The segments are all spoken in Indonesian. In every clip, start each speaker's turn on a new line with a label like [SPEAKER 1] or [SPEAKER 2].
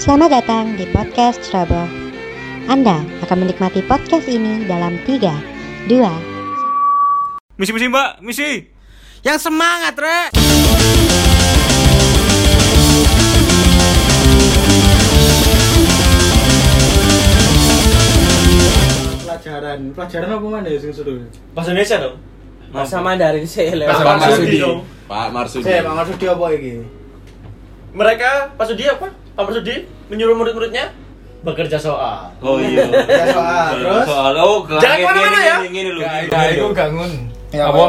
[SPEAKER 1] Selamat datang di podcast Trouble. Anda akan menikmati podcast ini dalam 3, 2,
[SPEAKER 2] Misi misi mbak, misi.
[SPEAKER 3] Yang semangat, Rek.
[SPEAKER 4] pelajaran pelajaran apa mana ya sing seru
[SPEAKER 2] Bahasa Indonesia dong.
[SPEAKER 3] Bahasa Mandarin sih lewat
[SPEAKER 2] Bahasa
[SPEAKER 3] Pak
[SPEAKER 2] Marsudi
[SPEAKER 3] Marsudi.
[SPEAKER 2] dong.
[SPEAKER 5] Pak Marsudi.
[SPEAKER 4] saya Eh, pak maksud dia apa ini
[SPEAKER 2] Mereka Pak Sudi apa? Pak Sudi menyuruh murid-muridnya bekerja soal. Oh iya.
[SPEAKER 4] ya soal terus
[SPEAKER 5] Soal oh
[SPEAKER 2] Jangan kemana-mana ya.
[SPEAKER 5] Ini loh.
[SPEAKER 6] Nah, itu bangun.
[SPEAKER 4] Ya,
[SPEAKER 6] apa?
[SPEAKER 4] apa?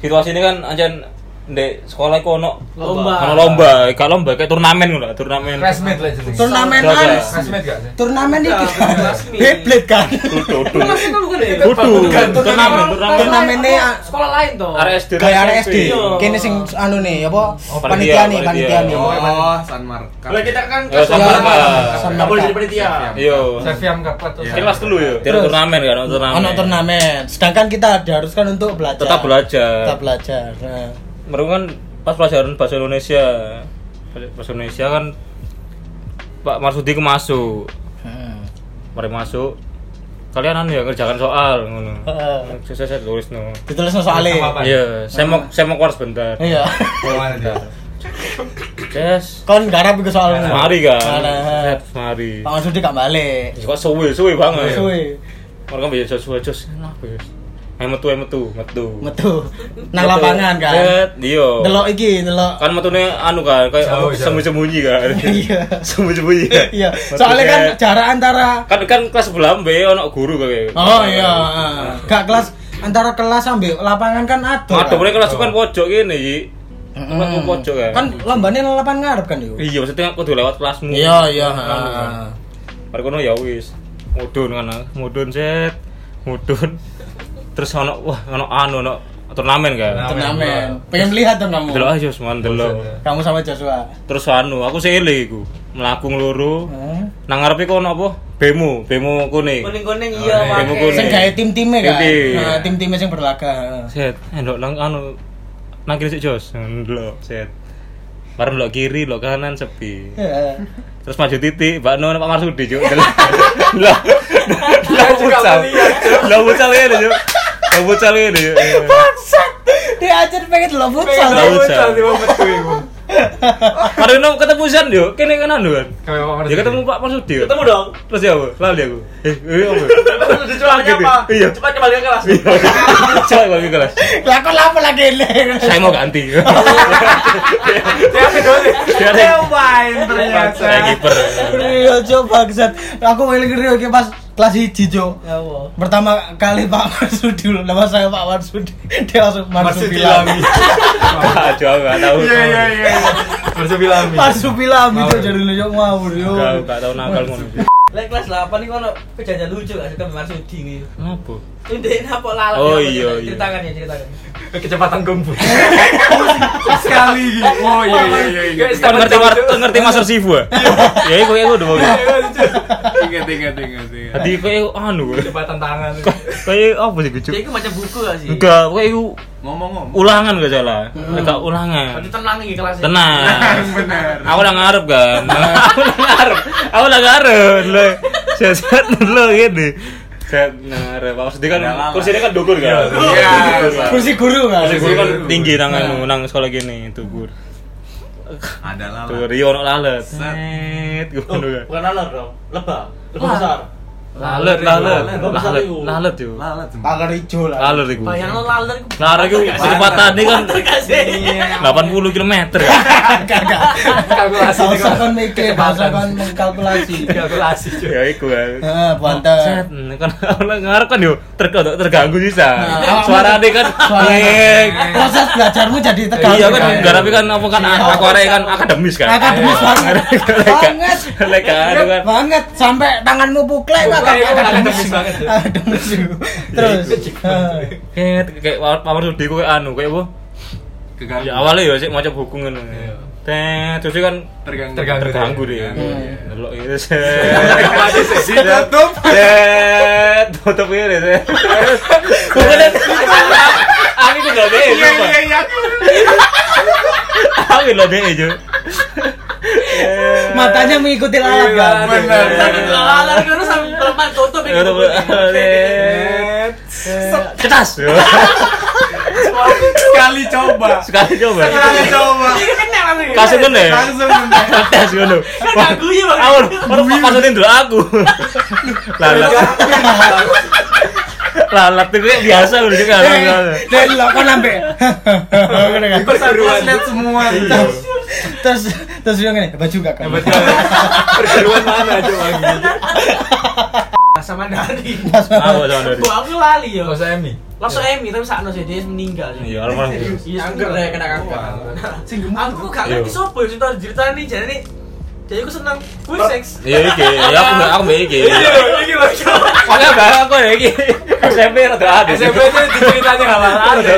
[SPEAKER 6] Situasi ini kan anjen di sekolah iku ono
[SPEAKER 3] Lomba.
[SPEAKER 6] ono lomba, gak lomba kayak turnamen ngono, turnamen.
[SPEAKER 7] Classmate lah jadi.
[SPEAKER 3] Turnamen
[SPEAKER 6] Gak, gak.
[SPEAKER 7] Classmate gak sih?
[SPEAKER 3] turnamen di
[SPEAKER 6] Beyblade kan. Kudu. Kudu. Turnamen, turnamen.
[SPEAKER 3] Turnamennya sekolah lain toh.
[SPEAKER 6] RSD.
[SPEAKER 4] kayak RSD
[SPEAKER 6] Iya.
[SPEAKER 4] kene sing anu nih apa
[SPEAKER 6] Oh, panitia,
[SPEAKER 4] panitia nih
[SPEAKER 6] panitia.
[SPEAKER 4] panitia nih
[SPEAKER 5] Oh, San Marka.
[SPEAKER 2] Kalau kita kan
[SPEAKER 7] Eh,
[SPEAKER 6] Ya, sama
[SPEAKER 4] Iya.
[SPEAKER 6] apa?
[SPEAKER 2] nggak boleh jadi panitia.
[SPEAKER 6] Iya.
[SPEAKER 7] Seviam kapat tuh.
[SPEAKER 2] Kelas dulu ya.
[SPEAKER 6] Tidak turnamen kan, ono turnamen.
[SPEAKER 4] ono turnamen sedangkan kita diharuskan untuk belajar
[SPEAKER 6] Tetap belajar.
[SPEAKER 4] tetap belajar nah.
[SPEAKER 6] Mereka kan pas pelajaran bahasa Indonesia. Bahasa Indonesia kan Pak Marsudi ku masuk.
[SPEAKER 4] Hmm.
[SPEAKER 6] Mari masuk. Kalian anu ya ngerjakan soal ngono.
[SPEAKER 4] Heeh.
[SPEAKER 6] Saya saya tulis no.
[SPEAKER 4] ditulis no soalnya
[SPEAKER 7] Sama, Pak.
[SPEAKER 6] Iya, saya mau saya mau keluar sebentar.
[SPEAKER 4] iya
[SPEAKER 7] Gimana dia?
[SPEAKER 6] Yes.
[SPEAKER 4] kon garap iku soalnya
[SPEAKER 6] Mari kan.
[SPEAKER 4] Nah,
[SPEAKER 6] Set, Mari. Ya,
[SPEAKER 4] pak maksud dia gak balik
[SPEAKER 6] Kok suwe suwe banget. ya.
[SPEAKER 4] suwe
[SPEAKER 6] Mereka bisa suwe jos. Kenapa ya? Ayo metu ayo metu metu.
[SPEAKER 4] metu nang
[SPEAKER 6] Metu.
[SPEAKER 4] lapangan kan
[SPEAKER 6] Set, Iya.
[SPEAKER 4] delok iki delok
[SPEAKER 6] Kan metune anu kan kayak
[SPEAKER 7] Jauh, jauh.
[SPEAKER 6] sembunyi-sembunyi kan.
[SPEAKER 4] iya
[SPEAKER 6] Sembunyi-sembunyi. kan.
[SPEAKER 4] iya
[SPEAKER 6] Metu,
[SPEAKER 4] soalnya kan
[SPEAKER 6] set.
[SPEAKER 4] jarak antara
[SPEAKER 6] kan kan kelas sebelah B ono guru kayak.
[SPEAKER 4] Oh iya, gak kelas antara kelas sambil lapangan kan atur.
[SPEAKER 6] Waduh, mereka kelas kan pojok ini, Ji. Tempat ku pojok kan.
[SPEAKER 4] Kan lombane nang lapangan ngarep kan yo.
[SPEAKER 6] Iya, maksudnya aku kudu lewat kelasmu.
[SPEAKER 4] iya.
[SPEAKER 6] Anu, kan. Mari kono ya wis. Mudun kan, mudun set. Mudun. Terus ono wah ono anu ono turnamen kan.
[SPEAKER 4] Turnamen. Pengen melihat tuh kamu.
[SPEAKER 6] Delok aja Usman delok.
[SPEAKER 4] Kamu sama Joshua.
[SPEAKER 6] Terus anu aku sele iku. Mlaku ngloro.
[SPEAKER 4] Heeh.
[SPEAKER 6] Nang ngarepe kono apa? Bemo, bemo kuning.
[SPEAKER 3] Kuning-kuning iya,
[SPEAKER 6] Kuning.
[SPEAKER 3] pakai.
[SPEAKER 6] Kuning.
[SPEAKER 4] Sing gawe tim-time kan.
[SPEAKER 6] Tim-tim. Iya.
[SPEAKER 4] Nah, tim-time sing berlaga.
[SPEAKER 6] Set, endok nang anu nang kiri sik Jos. Delok, set. Baru delok kiri, delok kanan sepi.
[SPEAKER 4] Heeh.
[SPEAKER 6] Terus maju titik, Mbak Nun Pak Marsudi Cuk. Lah. Lah. Lah
[SPEAKER 3] juga
[SPEAKER 6] futsal.
[SPEAKER 3] melihat.
[SPEAKER 6] Lah futsal ini, Cuk. Lah futsal ini, Cuk. Eh.
[SPEAKER 4] Bangsat. Dia aja pengen delok futsal.
[SPEAKER 6] Pengen delok.
[SPEAKER 7] Bocah tiba metu iku.
[SPEAKER 6] Mari no ketemu San, Cuk. Kene kanan lho, kan.
[SPEAKER 7] Kayak Pak Marsudi.
[SPEAKER 6] Ya ketemu Pak Marsudi. kan.
[SPEAKER 2] Ketemu dong.
[SPEAKER 6] Terus ya apa? Lali aku. Eh, eh apa?
[SPEAKER 2] Pak Sudi jualannya
[SPEAKER 6] Gitu.
[SPEAKER 2] apa?
[SPEAKER 6] Iya.
[SPEAKER 2] Cepat kembali ke kelas.
[SPEAKER 6] Coba bagi kelas.
[SPEAKER 4] Lah kok lapo lagi ini?
[SPEAKER 6] Saya mau ganti.
[SPEAKER 7] Tiap itu sih.
[SPEAKER 6] Biar
[SPEAKER 7] Dia main ternyata.
[SPEAKER 6] saya kiper.
[SPEAKER 4] Rio Jo bangsat. Aku paling Rio iki pas kelas 1 Jo.
[SPEAKER 3] Ya, wo.
[SPEAKER 4] Pertama kali Pak Marsudi nama saya Pak Marsudi. Dia langsung Marsudi
[SPEAKER 7] Marsudi
[SPEAKER 4] lagi.
[SPEAKER 7] Lami.
[SPEAKER 6] Ah, Cuk, enggak tahu.
[SPEAKER 7] Iya iya iya. Marsudi Lami.
[SPEAKER 4] Marsudi Lami itu
[SPEAKER 7] Ngawur.
[SPEAKER 4] jadi lu yo ngawur yo.
[SPEAKER 6] Enggak, enggak tahu nakal ngono.
[SPEAKER 3] Lek kelas 8 iki ono kejadian lucu gak sih kan Marsudi iki.
[SPEAKER 6] Apa?
[SPEAKER 3] Ndek napa lalap
[SPEAKER 6] Oh,
[SPEAKER 3] ya,
[SPEAKER 6] iya,
[SPEAKER 3] apa,
[SPEAKER 6] iya.
[SPEAKER 3] ceritakan ya ceritakan.
[SPEAKER 7] Kecepatan gembul. Sekali gitu. Oh iya iya iya, iya.
[SPEAKER 6] Kan ngerti kan ngerti Master Sifu. ya? Ya iku iku udah bagus.
[SPEAKER 7] Ingat ingat ingat ingat.
[SPEAKER 6] Tadi kayak anu.
[SPEAKER 7] Kecepatan tangan.
[SPEAKER 6] Kayak apa sih Cuk?
[SPEAKER 3] Dia iku macam buku gak sih?
[SPEAKER 6] Enggak, kayak iku
[SPEAKER 5] Ngomong-ngomong.
[SPEAKER 6] ulangan gak salah. Enggak ulangan.
[SPEAKER 3] Berarti tenang iki kelasnya.
[SPEAKER 6] Tenang.
[SPEAKER 7] Benar.
[SPEAKER 6] Aku udah ngarep kan. Aku udah ngarep. Aku udah ngarep. Lo seset lo gini. Set ngarep. Maksudnya kan
[SPEAKER 5] Udah lama.
[SPEAKER 6] kursinya kan dukur kan.
[SPEAKER 7] Iya.
[SPEAKER 4] Kursi guru kan.
[SPEAKER 6] Kursi kan tinggi tangan nang sekolah gini dukur.
[SPEAKER 5] Ada lala.
[SPEAKER 6] Tuh Rio ono lalet.
[SPEAKER 5] Set.
[SPEAKER 6] Set.
[SPEAKER 2] Oh,
[SPEAKER 6] Ngono kan.
[SPEAKER 2] Bukan laler dong. Lebah. Lebah besar.
[SPEAKER 6] Lalet, lalet,
[SPEAKER 2] Lalet.
[SPEAKER 6] lalet, lalet yo.
[SPEAKER 5] Lala semua.
[SPEAKER 7] Ah.
[SPEAKER 4] Pagar hijau lah.
[SPEAKER 6] Lalet iku.
[SPEAKER 3] Bayangno laler iku.
[SPEAKER 6] Lalet iku selipatannya kan
[SPEAKER 3] Gak sih?
[SPEAKER 6] 80 km kan.
[SPEAKER 4] Kagak.
[SPEAKER 7] Kalkulasi.
[SPEAKER 4] Gak usah kon mikir, gak usah kon mengkalkulasi. Eh,
[SPEAKER 7] Kalkulasi. cuy.
[SPEAKER 6] ya iku kan
[SPEAKER 4] Heeh,
[SPEAKER 6] Set,
[SPEAKER 4] buanten.
[SPEAKER 6] kan orang ngarep kan yo terganggu terganggu bisa
[SPEAKER 4] Nah,
[SPEAKER 6] suarane kan ngek.
[SPEAKER 4] Proses belajarmu jadi terganggu.
[SPEAKER 6] iya kan
[SPEAKER 7] Iya.
[SPEAKER 6] garapi kan apa kan aku arek kan akademis kan
[SPEAKER 4] Akademis banget. Banget. Iya,
[SPEAKER 6] lek kan kan
[SPEAKER 4] Banget sampai tanganmu puklek kok
[SPEAKER 7] Puklek,
[SPEAKER 4] kagak
[SPEAKER 7] akademis banget. Iya,
[SPEAKER 4] Akademis. Terus. eh, heeh.
[SPEAKER 6] Ngek, kayak Pak Pak Marsudi ku kayak anu kayak apa
[SPEAKER 5] Keganggu.
[SPEAKER 6] ya awalnya yo sik maca buku ngono Tet, terus kan
[SPEAKER 5] Terganggu.
[SPEAKER 7] Iya. Terganggu.
[SPEAKER 6] terganggu deh.
[SPEAKER 5] Terganggu,
[SPEAKER 4] iya.
[SPEAKER 6] Delok itu set.
[SPEAKER 5] Ditutup.
[SPEAKER 6] Set, tutup ini set. Bukan aku itu gak deh.
[SPEAKER 7] Iya iya iya.
[SPEAKER 6] Aku lo deh Jo.
[SPEAKER 4] matanya mengikuti
[SPEAKER 7] Iya,
[SPEAKER 4] lalat kan
[SPEAKER 7] benar.
[SPEAKER 3] Sakit lalat kan sampai perempuan tutup
[SPEAKER 6] Ya,
[SPEAKER 3] itu.
[SPEAKER 6] udah, boleh. Cetas.
[SPEAKER 7] Sekali coba.
[SPEAKER 6] Sekali coba.
[SPEAKER 7] Sekali coba.
[SPEAKER 3] Ini kena langsung.
[SPEAKER 6] Kasih ngene.
[SPEAKER 7] Langsung bener.
[SPEAKER 6] Cetas ngono.
[SPEAKER 3] Kan gak guyu Bang.
[SPEAKER 6] Awal orang pakatin dulu aku. Lalat. Lalat itu kayak biasa udah juga
[SPEAKER 4] Eh.
[SPEAKER 7] Iya,
[SPEAKER 6] lalat.
[SPEAKER 4] dan lo kan sampai Gini kan?
[SPEAKER 7] Perseruan lihat semua.
[SPEAKER 4] terus terus dia gini baju gak kan
[SPEAKER 7] Perseruan mana coba gitu.
[SPEAKER 3] sama dari.
[SPEAKER 6] Aku sama dari.
[SPEAKER 3] Bu aku lali ya.
[SPEAKER 7] Enggak usah Emi.
[SPEAKER 3] Langsung Emi tapi sakno sih dia meninggal. ya.
[SPEAKER 6] Iya, almarhum.
[SPEAKER 3] Iya,
[SPEAKER 7] Kanker ya, kena kanker.
[SPEAKER 3] Sing aku gak ngerti
[SPEAKER 6] Iya.
[SPEAKER 3] sopo ya sing tau diceritani jadi jadi aku seneng gue seks.
[SPEAKER 6] Iya iki, ya aku aku mbek iki.
[SPEAKER 3] Iki lho.
[SPEAKER 6] Makanya barang aku ya iki. SMP rada ada.
[SPEAKER 7] SMP itu diceritanya nggak lalat ya.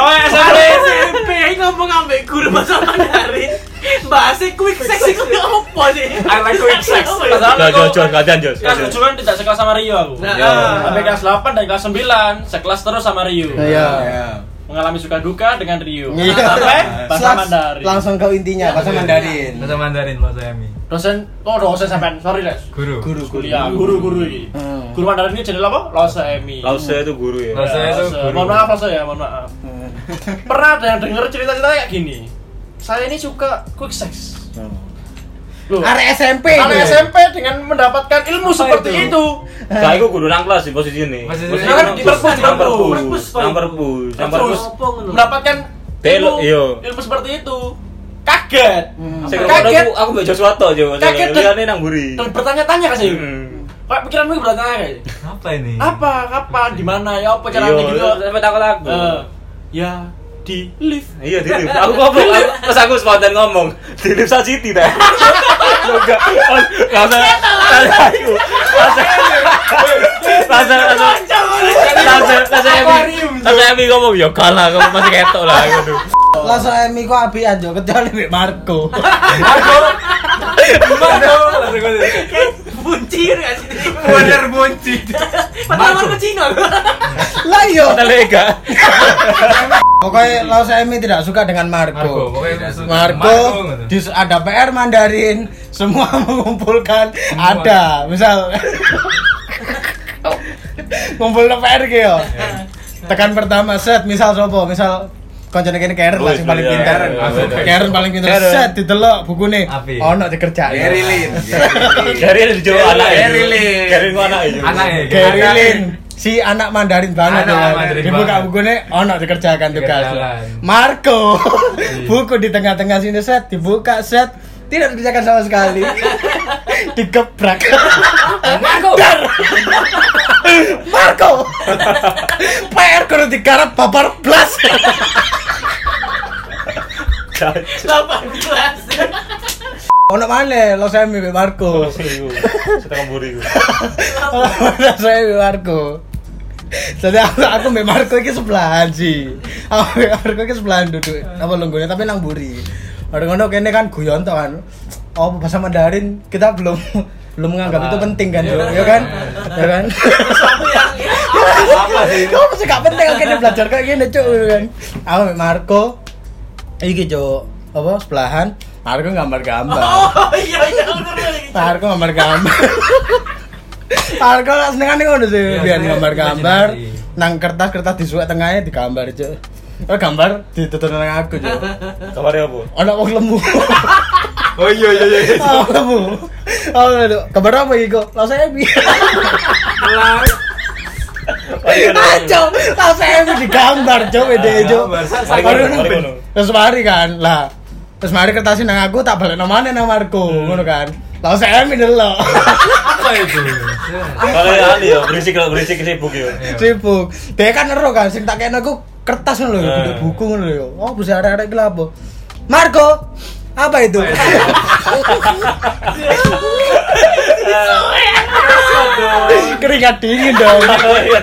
[SPEAKER 3] Oh,
[SPEAKER 2] ya,
[SPEAKER 3] SMP, SMP Ini ngomong ambek guru bahasa Mandarin. Bahasa quick sex itu apa sih?
[SPEAKER 7] I like quick sex.
[SPEAKER 3] Nah,
[SPEAKER 6] Jos jos jos gantian jos.
[SPEAKER 8] Kelas
[SPEAKER 4] Iya.
[SPEAKER 8] tujuh kan tidak sekelas sama Rio aku.
[SPEAKER 4] Nah.
[SPEAKER 6] Iya.
[SPEAKER 8] Sampai kelas 8 dan kelas 9 sekelas terus sama Rio.
[SPEAKER 4] iya
[SPEAKER 7] Ya.
[SPEAKER 8] Mengalami suka duka dengan Rio.
[SPEAKER 4] Iya.
[SPEAKER 8] Sampai bahasa
[SPEAKER 4] Langs-
[SPEAKER 8] Mandarin.
[SPEAKER 4] langsung ke intinya bahasa Mandarin
[SPEAKER 7] Bahasa Mandarin Mas Emi.
[SPEAKER 2] dosen oh dosen sampean sorry les
[SPEAKER 7] Guru.
[SPEAKER 4] guru
[SPEAKER 2] kuliah guru-guru ini
[SPEAKER 4] Hmm.
[SPEAKER 2] guru Mandarin ini jadi apa Lose Emi
[SPEAKER 6] Lause itu guru ya.
[SPEAKER 7] Lause. Saya itu
[SPEAKER 2] Lause.
[SPEAKER 7] guru.
[SPEAKER 2] mohon maaf Lause ya mohon maaf pernah ada yang denger cerita-cerita kayak gini saya ini suka quick sex Loh,
[SPEAKER 4] Arek SMP
[SPEAKER 2] anak
[SPEAKER 4] gue.
[SPEAKER 2] SMP dengan mendapatkan ilmu seperti itu,
[SPEAKER 6] Nah, aku guru nang kelas di posisi ini.
[SPEAKER 7] Posisi
[SPEAKER 6] Posisi
[SPEAKER 7] ini.
[SPEAKER 6] nang
[SPEAKER 7] Di
[SPEAKER 6] perpus,
[SPEAKER 3] perpus,
[SPEAKER 6] nang
[SPEAKER 3] perpus.
[SPEAKER 6] perpus, nang perpus, nang perpus.
[SPEAKER 2] mendapatkan
[SPEAKER 6] Telo, iya.
[SPEAKER 2] ilmu, ilmu seperti itu, kaget,
[SPEAKER 6] Saya
[SPEAKER 2] kaget,
[SPEAKER 6] kaget. Aku mbek Joshua to, Jo.
[SPEAKER 2] Kaget,
[SPEAKER 6] Saya liane nang Hmm. buri.
[SPEAKER 2] dan bertanya-tanya kan sih,
[SPEAKER 6] Heeh.
[SPEAKER 2] kayak pikiranmu kan bertanya kayak
[SPEAKER 7] Apa ini?
[SPEAKER 2] apa, kapan, di mana, ya apa
[SPEAKER 6] Iya,
[SPEAKER 2] caranya gitu,
[SPEAKER 6] sampai takut aku.
[SPEAKER 2] Eh, ya di lift
[SPEAKER 6] Iya, di lift. Aku ngomong, aku- terus aku spontan ngomong, di lift sa City dah. Loh, Enggak, enggak usah. Rasa aku. Rasa. Rasa, rasa. Rasa, rasa Emi. Rasa Emi ngomong, ya kalah, kamu masih ketok lah gitu.
[SPEAKER 4] langsung Emi kok api aja kecuali Mbak Marco
[SPEAKER 3] Bunci gitu gak sih?
[SPEAKER 7] Bener bunci.
[SPEAKER 3] Padahal aku Cina.
[SPEAKER 4] lah iya
[SPEAKER 6] Hotel Ega.
[SPEAKER 4] pokoknya langsung Emi tidak suka dengan
[SPEAKER 7] Marco,
[SPEAKER 4] Marco
[SPEAKER 7] pokoknya maksud-
[SPEAKER 4] Marco,
[SPEAKER 7] Marco. gitu.
[SPEAKER 4] di, ada PR Mandarin, semua mengumpulkan ada, misal ngumpul no PR gitu.
[SPEAKER 7] Iya.
[SPEAKER 4] ya. Tekan pertama set, misal sopo, misal koncone kene Karen lah sing paling
[SPEAKER 6] Iya,
[SPEAKER 4] pintar.
[SPEAKER 6] Karen,
[SPEAKER 7] langsung.
[SPEAKER 4] Karen paling pintar
[SPEAKER 6] Karen.
[SPEAKER 4] set didelok bukune.
[SPEAKER 7] Apik.
[SPEAKER 4] Ono dikerjain.
[SPEAKER 5] Gary Lin.
[SPEAKER 6] Gary di Jawa anak ya.
[SPEAKER 7] Gary Lin.
[SPEAKER 6] Gary ku anak ya.
[SPEAKER 7] Anak ya.
[SPEAKER 4] Gary Lin. Si anak Mandarin banget
[SPEAKER 7] Anak
[SPEAKER 4] ya.
[SPEAKER 7] Mandarin
[SPEAKER 4] Dibuka
[SPEAKER 7] banget.
[SPEAKER 4] bukunya, ono dikerjakan tugas.
[SPEAKER 7] Dikerjakan. Iya.
[SPEAKER 4] Marco, buku di tengah-tengah sini set, dibuka set, tidak dikerjakan sama sekali. Digebrak. Marco. Dar. Marco. PR kudu digarap babar blas.
[SPEAKER 3] Lapan kelas.
[SPEAKER 4] Ono mana? Lo saya mimpi
[SPEAKER 6] Oh,
[SPEAKER 4] Marco.
[SPEAKER 6] Setengah buri ku.
[SPEAKER 4] Ono saya mimpi Marco. Jadi aku, aku mbek Marco iki sebelahan sih. Aku mbek Marco iki sebelahan duduk. Apa lunggune tapi nang buri. Ada ngono kene kan guyon tok kan. Oh bahasa Mandarin kita belum belum menganggap itu penting kan
[SPEAKER 7] Iya.
[SPEAKER 4] yo, ya kan? Ya kan?
[SPEAKER 3] Satu yang
[SPEAKER 7] Apa sih?
[SPEAKER 4] Kau mesti gak penting kan dia belajar kayak gini cuk gitu kan. Aku mbek Marco iki cuk apa sebelahan Marco gambar-gambar.
[SPEAKER 3] Oh iya iya bener, bener.
[SPEAKER 4] Tarko gambar-gambar. Tarko lah seneng nih udah sih,
[SPEAKER 7] Ya,
[SPEAKER 4] biar
[SPEAKER 7] seneng
[SPEAKER 4] gambar-gambar.
[SPEAKER 7] imajinasi.
[SPEAKER 4] Nang kertas-kertas di suwek tengahnya digambar cuk. Oh gambar ditutur nang aku cuk.
[SPEAKER 6] Kabarnya apa?
[SPEAKER 4] Ono wong lemu.
[SPEAKER 7] Oh iya iya iya.
[SPEAKER 4] Ono lemu. Oh lho, gambar apa iki kok? Lah saya bi. Aco, Ah, lah saya bi digambar cuk ide cuk.
[SPEAKER 7] Ah, Gambar,
[SPEAKER 6] saking-
[SPEAKER 4] Baru
[SPEAKER 6] saking-
[SPEAKER 4] nang- Terus mari kan, lah. Terus mari kertasin nang aku tak balik nang mana nang Marco,
[SPEAKER 7] Hmm.
[SPEAKER 4] ngono kan. Lah saya bi delok.
[SPEAKER 7] Apa itu?
[SPEAKER 6] Kalau yang ahli ya, berisik kalau berisik sibuk ya.
[SPEAKER 4] sibuk dia kan ero kan sing tak kena aku kertas ngono lho
[SPEAKER 6] Eh.
[SPEAKER 4] bentuk buku ngono lho oh bisa arek-arek iki lho apa Marco apa itu keringat dingin dong
[SPEAKER 7] Iya,
[SPEAKER 6] Iya,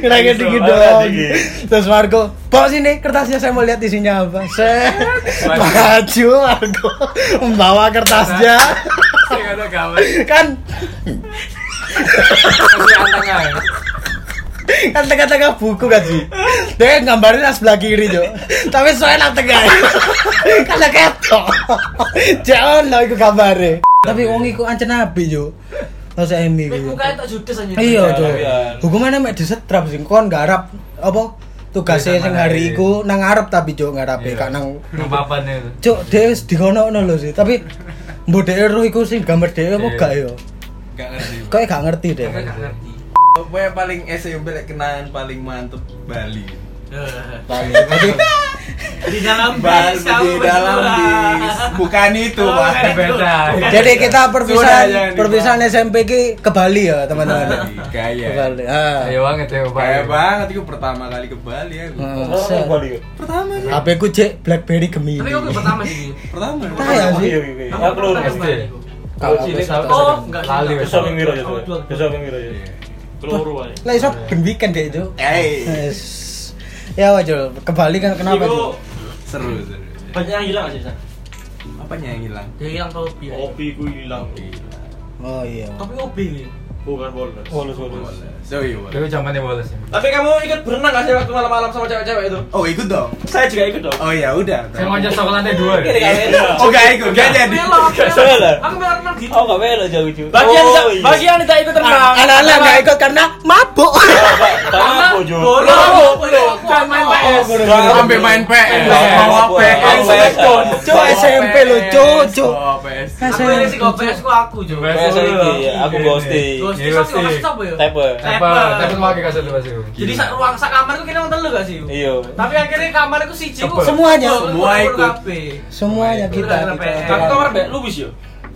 [SPEAKER 4] keringat
[SPEAKER 6] Keringat
[SPEAKER 4] dingin dong
[SPEAKER 6] dingin.
[SPEAKER 4] terus Marco bawa sini kertasnya saya mau lihat isinya apa saya maju Marco membawa kertasnya
[SPEAKER 7] Saya ada gambar.
[SPEAKER 4] kan
[SPEAKER 7] Masih antengah.
[SPEAKER 4] kan tengah-tengah buku kan sih dia gambarin nang sebelah kiri jo tapi soalnya nang tengah karena ketok jangan lah iku gambare tapi wong iku ancen nabi jo Terus Emi iku.
[SPEAKER 3] Mukanya tak judes aja.
[SPEAKER 4] Iya,
[SPEAKER 2] Iya,
[SPEAKER 4] Jo.
[SPEAKER 2] lawian.
[SPEAKER 4] Hukumannya mek disetrap sing kon gak harap apa
[SPEAKER 7] Tugas
[SPEAKER 4] tugasnya sing
[SPEAKER 7] mana
[SPEAKER 4] hari
[SPEAKER 7] ini?
[SPEAKER 4] iku nang ngarep tapi Jo nggak
[SPEAKER 7] Iya.
[SPEAKER 4] gak nang
[SPEAKER 7] Nang papan itu.
[SPEAKER 4] Cuk, dia dikonokno lho sih, tapi mbok dhek roh iku sing gambar dhek apa
[SPEAKER 7] Iya.
[SPEAKER 4] gak yo.
[SPEAKER 5] Gak ngerti.
[SPEAKER 4] Kayak gak ngerti deh.
[SPEAKER 3] Aku gak ngerti.
[SPEAKER 5] Apa yang paling SMP lek kenangan paling mantep Bali.
[SPEAKER 4] Paling. Jadi
[SPEAKER 3] Di dalam
[SPEAKER 5] Bali
[SPEAKER 3] bis
[SPEAKER 5] di
[SPEAKER 3] kamu
[SPEAKER 5] dalam bis.
[SPEAKER 3] berdua.
[SPEAKER 5] Bukan itu,
[SPEAKER 3] Oh,
[SPEAKER 5] Pak.
[SPEAKER 3] bukan itu.
[SPEAKER 7] Beda.
[SPEAKER 3] Bukan
[SPEAKER 4] jadi
[SPEAKER 3] itu.
[SPEAKER 4] kita
[SPEAKER 5] Sudah,
[SPEAKER 4] perpisahan
[SPEAKER 5] jangan dibahas.
[SPEAKER 4] perpisahan SMP ki ke Bali ya, teman-teman. Ke
[SPEAKER 5] Gaya.
[SPEAKER 4] Bali. Ah.
[SPEAKER 7] Ayo banget ya, Pak.
[SPEAKER 5] Gaya banget itu pertama kali ke Bali ya.
[SPEAKER 4] Hmm,
[SPEAKER 2] Orang
[SPEAKER 4] set.
[SPEAKER 2] Bali ya?
[SPEAKER 5] Pertama ya.
[SPEAKER 4] HP ku cek BlackBerry Gemini.
[SPEAKER 3] Tapi kok gue pertama sih. Gio?
[SPEAKER 5] Pertama. ya?
[SPEAKER 4] Tahu ya sih.
[SPEAKER 2] Iya, iya, iya.
[SPEAKER 3] Aku
[SPEAKER 2] Aku lu
[SPEAKER 3] pertama
[SPEAKER 7] SD.
[SPEAKER 3] kali, Gio.
[SPEAKER 4] Kalau
[SPEAKER 7] Sini,
[SPEAKER 4] aku
[SPEAKER 7] sama-
[SPEAKER 4] satu-
[SPEAKER 3] Oh, enggak sih.
[SPEAKER 7] Lali, wes.
[SPEAKER 2] Besok minggu
[SPEAKER 6] ya.
[SPEAKER 2] aja,
[SPEAKER 3] Aku dua.
[SPEAKER 2] besok minggu aja.
[SPEAKER 5] Iya.
[SPEAKER 8] Peluru aja.
[SPEAKER 4] Lah iso ben weekend deh, Jo.
[SPEAKER 5] Eh,
[SPEAKER 4] Yes. Ya wajul, ke Bali kan kenapa, Jo?
[SPEAKER 8] Iku
[SPEAKER 5] seru seru.
[SPEAKER 8] banyak yang hilang gak sih, San?
[SPEAKER 5] Apanya yang hilang?
[SPEAKER 3] Dia hilang topi. ya.
[SPEAKER 8] Kopi ku hilang.
[SPEAKER 4] Oh iya.
[SPEAKER 3] Topi obi. Gio.
[SPEAKER 8] Bukan bolos.
[SPEAKER 2] Walus, walus.
[SPEAKER 5] Wallace. So iya.
[SPEAKER 7] Dulu
[SPEAKER 5] Wallace.
[SPEAKER 7] zamannya Wallace. ya.
[SPEAKER 8] Tapi kamu ikut berenang gak sih waktu malam-malam sama cewek-cewek itu?
[SPEAKER 5] Oh ikut dong.
[SPEAKER 8] Saya juga ikut dong.
[SPEAKER 5] Oh ya udah.
[SPEAKER 7] Saya ngajak coklatnya dua. ya.
[SPEAKER 5] Oh gak ikut, gak jadi.
[SPEAKER 3] Melok. melok.
[SPEAKER 6] salah.
[SPEAKER 3] Aku melok melok gitu.
[SPEAKER 6] Oh, gak bela jauh-jauh.
[SPEAKER 8] Bagi yang
[SPEAKER 6] Oh, iya.
[SPEAKER 8] bagi yang tidak ikut renang.
[SPEAKER 4] Anak-anak gak ikut karena mabuk.
[SPEAKER 6] Tangan
[SPEAKER 3] Karena
[SPEAKER 6] aku, Jo.
[SPEAKER 3] boros. Bukan main PS.
[SPEAKER 5] Sampai main PS. Mau
[SPEAKER 6] Mau
[SPEAKER 5] PS.
[SPEAKER 6] PS.
[SPEAKER 4] Cuk SMP lo, Cuk, Cuk.
[SPEAKER 5] Mau PS.
[SPEAKER 3] Aku ini sih gak PS ku aku juga.
[SPEAKER 7] PS.
[SPEAKER 6] Biasa ini, ya, aku
[SPEAKER 7] Iya,
[SPEAKER 6] ghosting.
[SPEAKER 3] Ghost
[SPEAKER 7] Iya,
[SPEAKER 3] itu
[SPEAKER 7] sih.
[SPEAKER 3] apa ya?
[SPEAKER 6] Tepe.
[SPEAKER 7] Apa? Tapi mau pakai kasut lepas itu.
[SPEAKER 3] Jadi sak ruang sak kamar ku kira wong telu gak sih? Gio?
[SPEAKER 6] Iya.
[SPEAKER 3] Tapi akhirnya kamar ku siji ku
[SPEAKER 4] Apa? Semuanya.
[SPEAKER 5] Semua ikut.
[SPEAKER 4] Semuanya kita kita.
[SPEAKER 3] Kita PL.
[SPEAKER 8] Aku kamar Mbak Lubis ya.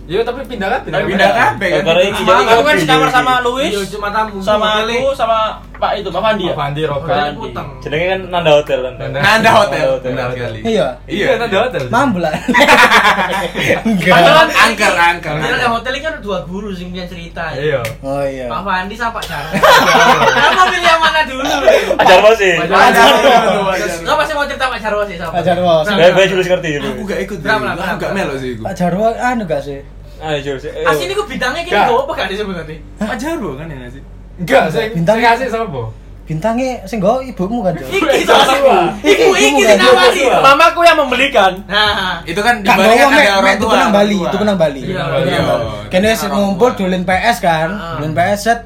[SPEAKER 7] Iya, tapi pindah kan?
[SPEAKER 5] Tapi pindah kabeh kan.
[SPEAKER 6] Gara-gara ini jadi
[SPEAKER 8] Aku kan sekamar sama Louis,
[SPEAKER 3] Iya, cuma tamu.
[SPEAKER 8] sama aku, sama Pak itu, Pak Fandi ya.
[SPEAKER 7] Pak Fandi, Rokan.
[SPEAKER 8] Rokan.
[SPEAKER 3] Utang.
[SPEAKER 6] Jenenge kan Nanda Hotel kan.
[SPEAKER 7] Nanda.
[SPEAKER 5] Nanda Hotel. Benar
[SPEAKER 7] Nanda
[SPEAKER 5] sekali.
[SPEAKER 4] Iya.
[SPEAKER 5] Iya.
[SPEAKER 7] Iya, ada hotel.
[SPEAKER 4] Mambu lah.
[SPEAKER 5] Padahal-
[SPEAKER 4] Enggak.
[SPEAKER 5] Angker, angker,
[SPEAKER 3] Padahal
[SPEAKER 5] angker.
[SPEAKER 3] yang hotel ini kan ada dua guru sing punya cerita.
[SPEAKER 7] Iya.
[SPEAKER 4] Oh iya.
[SPEAKER 3] Pak Fandi sama Pak Jarwo. Kamu pilih yang mana dulu?
[SPEAKER 6] Ajar mas sih.
[SPEAKER 7] Ajar.
[SPEAKER 5] Ada.
[SPEAKER 3] Lo pasti mau cerita Pak Jarwo sih sama.
[SPEAKER 4] Pak Jarwo.
[SPEAKER 6] Baik baik Julius ngerti dulu.
[SPEAKER 5] Aku gak ikut.
[SPEAKER 3] Berapa, berapa?
[SPEAKER 5] Aku gak melo sih.
[SPEAKER 4] Pak Jarwo anu gak sih?
[SPEAKER 6] Ayo Julius. Eh,
[SPEAKER 3] Ah, sini ku bintangnya kini
[SPEAKER 7] Enggak.
[SPEAKER 3] gak apa gak sebenarnya?
[SPEAKER 5] Pak Jarwo kan ya nasi.
[SPEAKER 7] Enggak, saya
[SPEAKER 4] Bintang.
[SPEAKER 7] saya kasih siapa?
[SPEAKER 4] Bintangnya sing gawa ibumu kan, Jo.
[SPEAKER 3] Iki sama. Iku
[SPEAKER 4] Iki,
[SPEAKER 3] iki
[SPEAKER 4] iki,
[SPEAKER 3] sing
[SPEAKER 4] iki.
[SPEAKER 3] awali.
[SPEAKER 8] Mamaku yang membelikan.
[SPEAKER 3] Nah,
[SPEAKER 5] Itu kan di
[SPEAKER 4] Gak
[SPEAKER 5] Bali
[SPEAKER 4] gawa
[SPEAKER 5] kan
[SPEAKER 4] mek
[SPEAKER 5] ada orang
[SPEAKER 4] mek tuku
[SPEAKER 5] tua.
[SPEAKER 4] nang Bali,
[SPEAKER 5] orang
[SPEAKER 4] tuku
[SPEAKER 5] tua.
[SPEAKER 4] nang Bali.
[SPEAKER 3] Iya,
[SPEAKER 5] iya.
[SPEAKER 4] Kene sing
[SPEAKER 5] Orang
[SPEAKER 4] ngumpul
[SPEAKER 5] tua.
[SPEAKER 4] dolin PS kan.
[SPEAKER 3] Heeh.
[SPEAKER 4] Dolin PS set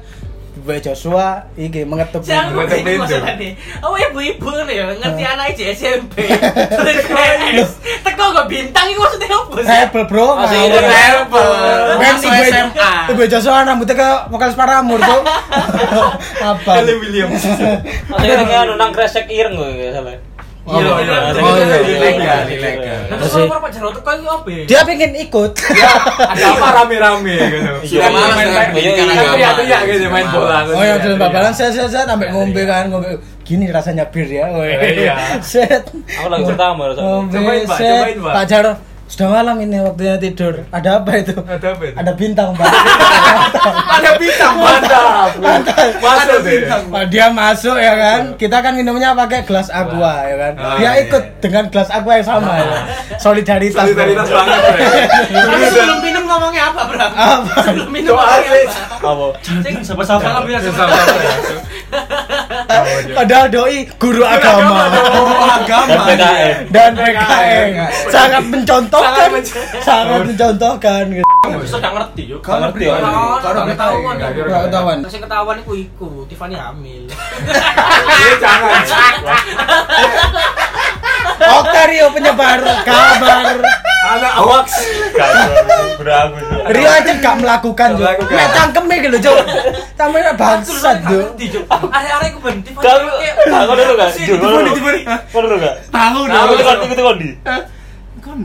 [SPEAKER 4] Bae Joshua iki mengetuk.
[SPEAKER 3] jangan
[SPEAKER 7] Buat
[SPEAKER 3] lupa
[SPEAKER 7] yang
[SPEAKER 3] ini
[SPEAKER 7] itu.
[SPEAKER 3] masalahnya. Apa ibu-ibu nih ya ngerti anak aja SMP. Terus PS. Teko gak bintang itu maksudnya apa sih? Nah,
[SPEAKER 4] Hebel bro,
[SPEAKER 6] Masih
[SPEAKER 4] ngawur.
[SPEAKER 5] Itu level.
[SPEAKER 4] Ben
[SPEAKER 5] Masuk
[SPEAKER 4] ibu
[SPEAKER 5] SMA.
[SPEAKER 4] Ibu Joshua rambutnya ke vokalis Paramur tuh. Apa?
[SPEAKER 5] Kelly Williams.
[SPEAKER 6] Masih ini kan nang kresek ireng kok nggak salah.
[SPEAKER 7] Oh,
[SPEAKER 3] Iya,
[SPEAKER 7] iya.
[SPEAKER 3] iya.
[SPEAKER 7] Oh, iya.
[SPEAKER 5] Ilegal, ilegal.
[SPEAKER 3] Nah, Terus
[SPEAKER 4] Masih-
[SPEAKER 3] kalau Pak Jarwo teko itu apa ya?
[SPEAKER 4] Dia pengen ikut.
[SPEAKER 7] Ada apa rame-rame gitu.
[SPEAKER 5] Sudah
[SPEAKER 6] Iya,
[SPEAKER 5] malas ya.
[SPEAKER 6] main
[SPEAKER 5] dengan
[SPEAKER 6] PS.
[SPEAKER 5] pendidikan
[SPEAKER 6] Iya,
[SPEAKER 5] agama.
[SPEAKER 7] Iya, iya gitu main bola.
[SPEAKER 4] Oh
[SPEAKER 5] iya,
[SPEAKER 4] ya udah
[SPEAKER 7] Teriak-teriak.
[SPEAKER 4] babalan set set set sampai ngombe kan ngombe gini rasanya bir ya. weh.
[SPEAKER 7] Iya.
[SPEAKER 4] Set.
[SPEAKER 6] Aku lagi pertama loh. soalnya.
[SPEAKER 4] Ngombe
[SPEAKER 7] Cobain, Pak,
[SPEAKER 4] set.
[SPEAKER 7] cobain, Pak.
[SPEAKER 4] Pak Jarwo sudah malam ini waktunya tidur. Ada apa itu?
[SPEAKER 7] Ada apa itu?
[SPEAKER 4] Ada bintang pak.
[SPEAKER 5] Ada bintang,
[SPEAKER 7] Mantap.
[SPEAKER 5] Ada
[SPEAKER 7] Masuk deh.
[SPEAKER 5] bintang.
[SPEAKER 4] Pak, Dia masuk ya kan. Kita kan minumnya pakai gelas aqua ya kan.
[SPEAKER 5] Ah,
[SPEAKER 4] Dia
[SPEAKER 5] iya.
[SPEAKER 4] ikut dengan gelas aqua yang sama ya. Solidaritas. Bro.
[SPEAKER 7] Solidaritas banget. Bre.
[SPEAKER 3] Tapi sebelum minum ngomongnya apa,
[SPEAKER 4] Ah,
[SPEAKER 3] Bro?
[SPEAKER 4] Apa?
[SPEAKER 7] Oh,
[SPEAKER 3] Sebelum minum ngomongnya apa?
[SPEAKER 6] Apa?
[SPEAKER 3] Cing,
[SPEAKER 8] Sama-sama.
[SPEAKER 3] Jangan bilang
[SPEAKER 7] Susah
[SPEAKER 3] sama.
[SPEAKER 7] banget. iya.
[SPEAKER 4] Padahal doi guru agama
[SPEAKER 5] Oh,
[SPEAKER 6] Dan
[SPEAKER 5] agama.
[SPEAKER 6] PKN.
[SPEAKER 4] dan PKN sangat mencontohkan, sangat
[SPEAKER 7] Oh.
[SPEAKER 4] mencontohkan. gitu.
[SPEAKER 8] Bisa gak ngerti yo.
[SPEAKER 5] Kalau
[SPEAKER 6] Ngerti,
[SPEAKER 5] pria,
[SPEAKER 6] orang.
[SPEAKER 5] kalau
[SPEAKER 3] Orang
[SPEAKER 5] pria,
[SPEAKER 3] ketahuan.
[SPEAKER 7] Nggak
[SPEAKER 4] Nggak ketahuan.
[SPEAKER 3] Terus yang ketahuan itu iku, Tiffany hamil.
[SPEAKER 7] Iya, jangan.
[SPEAKER 4] Oktario penyebar kabar.
[SPEAKER 7] Ada hoax.
[SPEAKER 6] Beraku.
[SPEAKER 4] Rio aja gak melakukan jo.
[SPEAKER 7] Nggak melakukan.
[SPEAKER 4] Mek cangkeme gitu jo. Cangkeme bangsat
[SPEAKER 3] Aku
[SPEAKER 4] jo.
[SPEAKER 3] nggak ngerti, Jok. Are-are iku ben Tiffany.
[SPEAKER 6] Kalau
[SPEAKER 3] kayak-
[SPEAKER 6] aku dulu kan.
[SPEAKER 3] Sini,
[SPEAKER 6] Jul, kau dulu.
[SPEAKER 5] Tiba-tiba.
[SPEAKER 6] Kau dulu kan.
[SPEAKER 5] Tahu
[SPEAKER 6] Aku
[SPEAKER 5] dong.
[SPEAKER 6] tuh kondi, aku tuh kondi.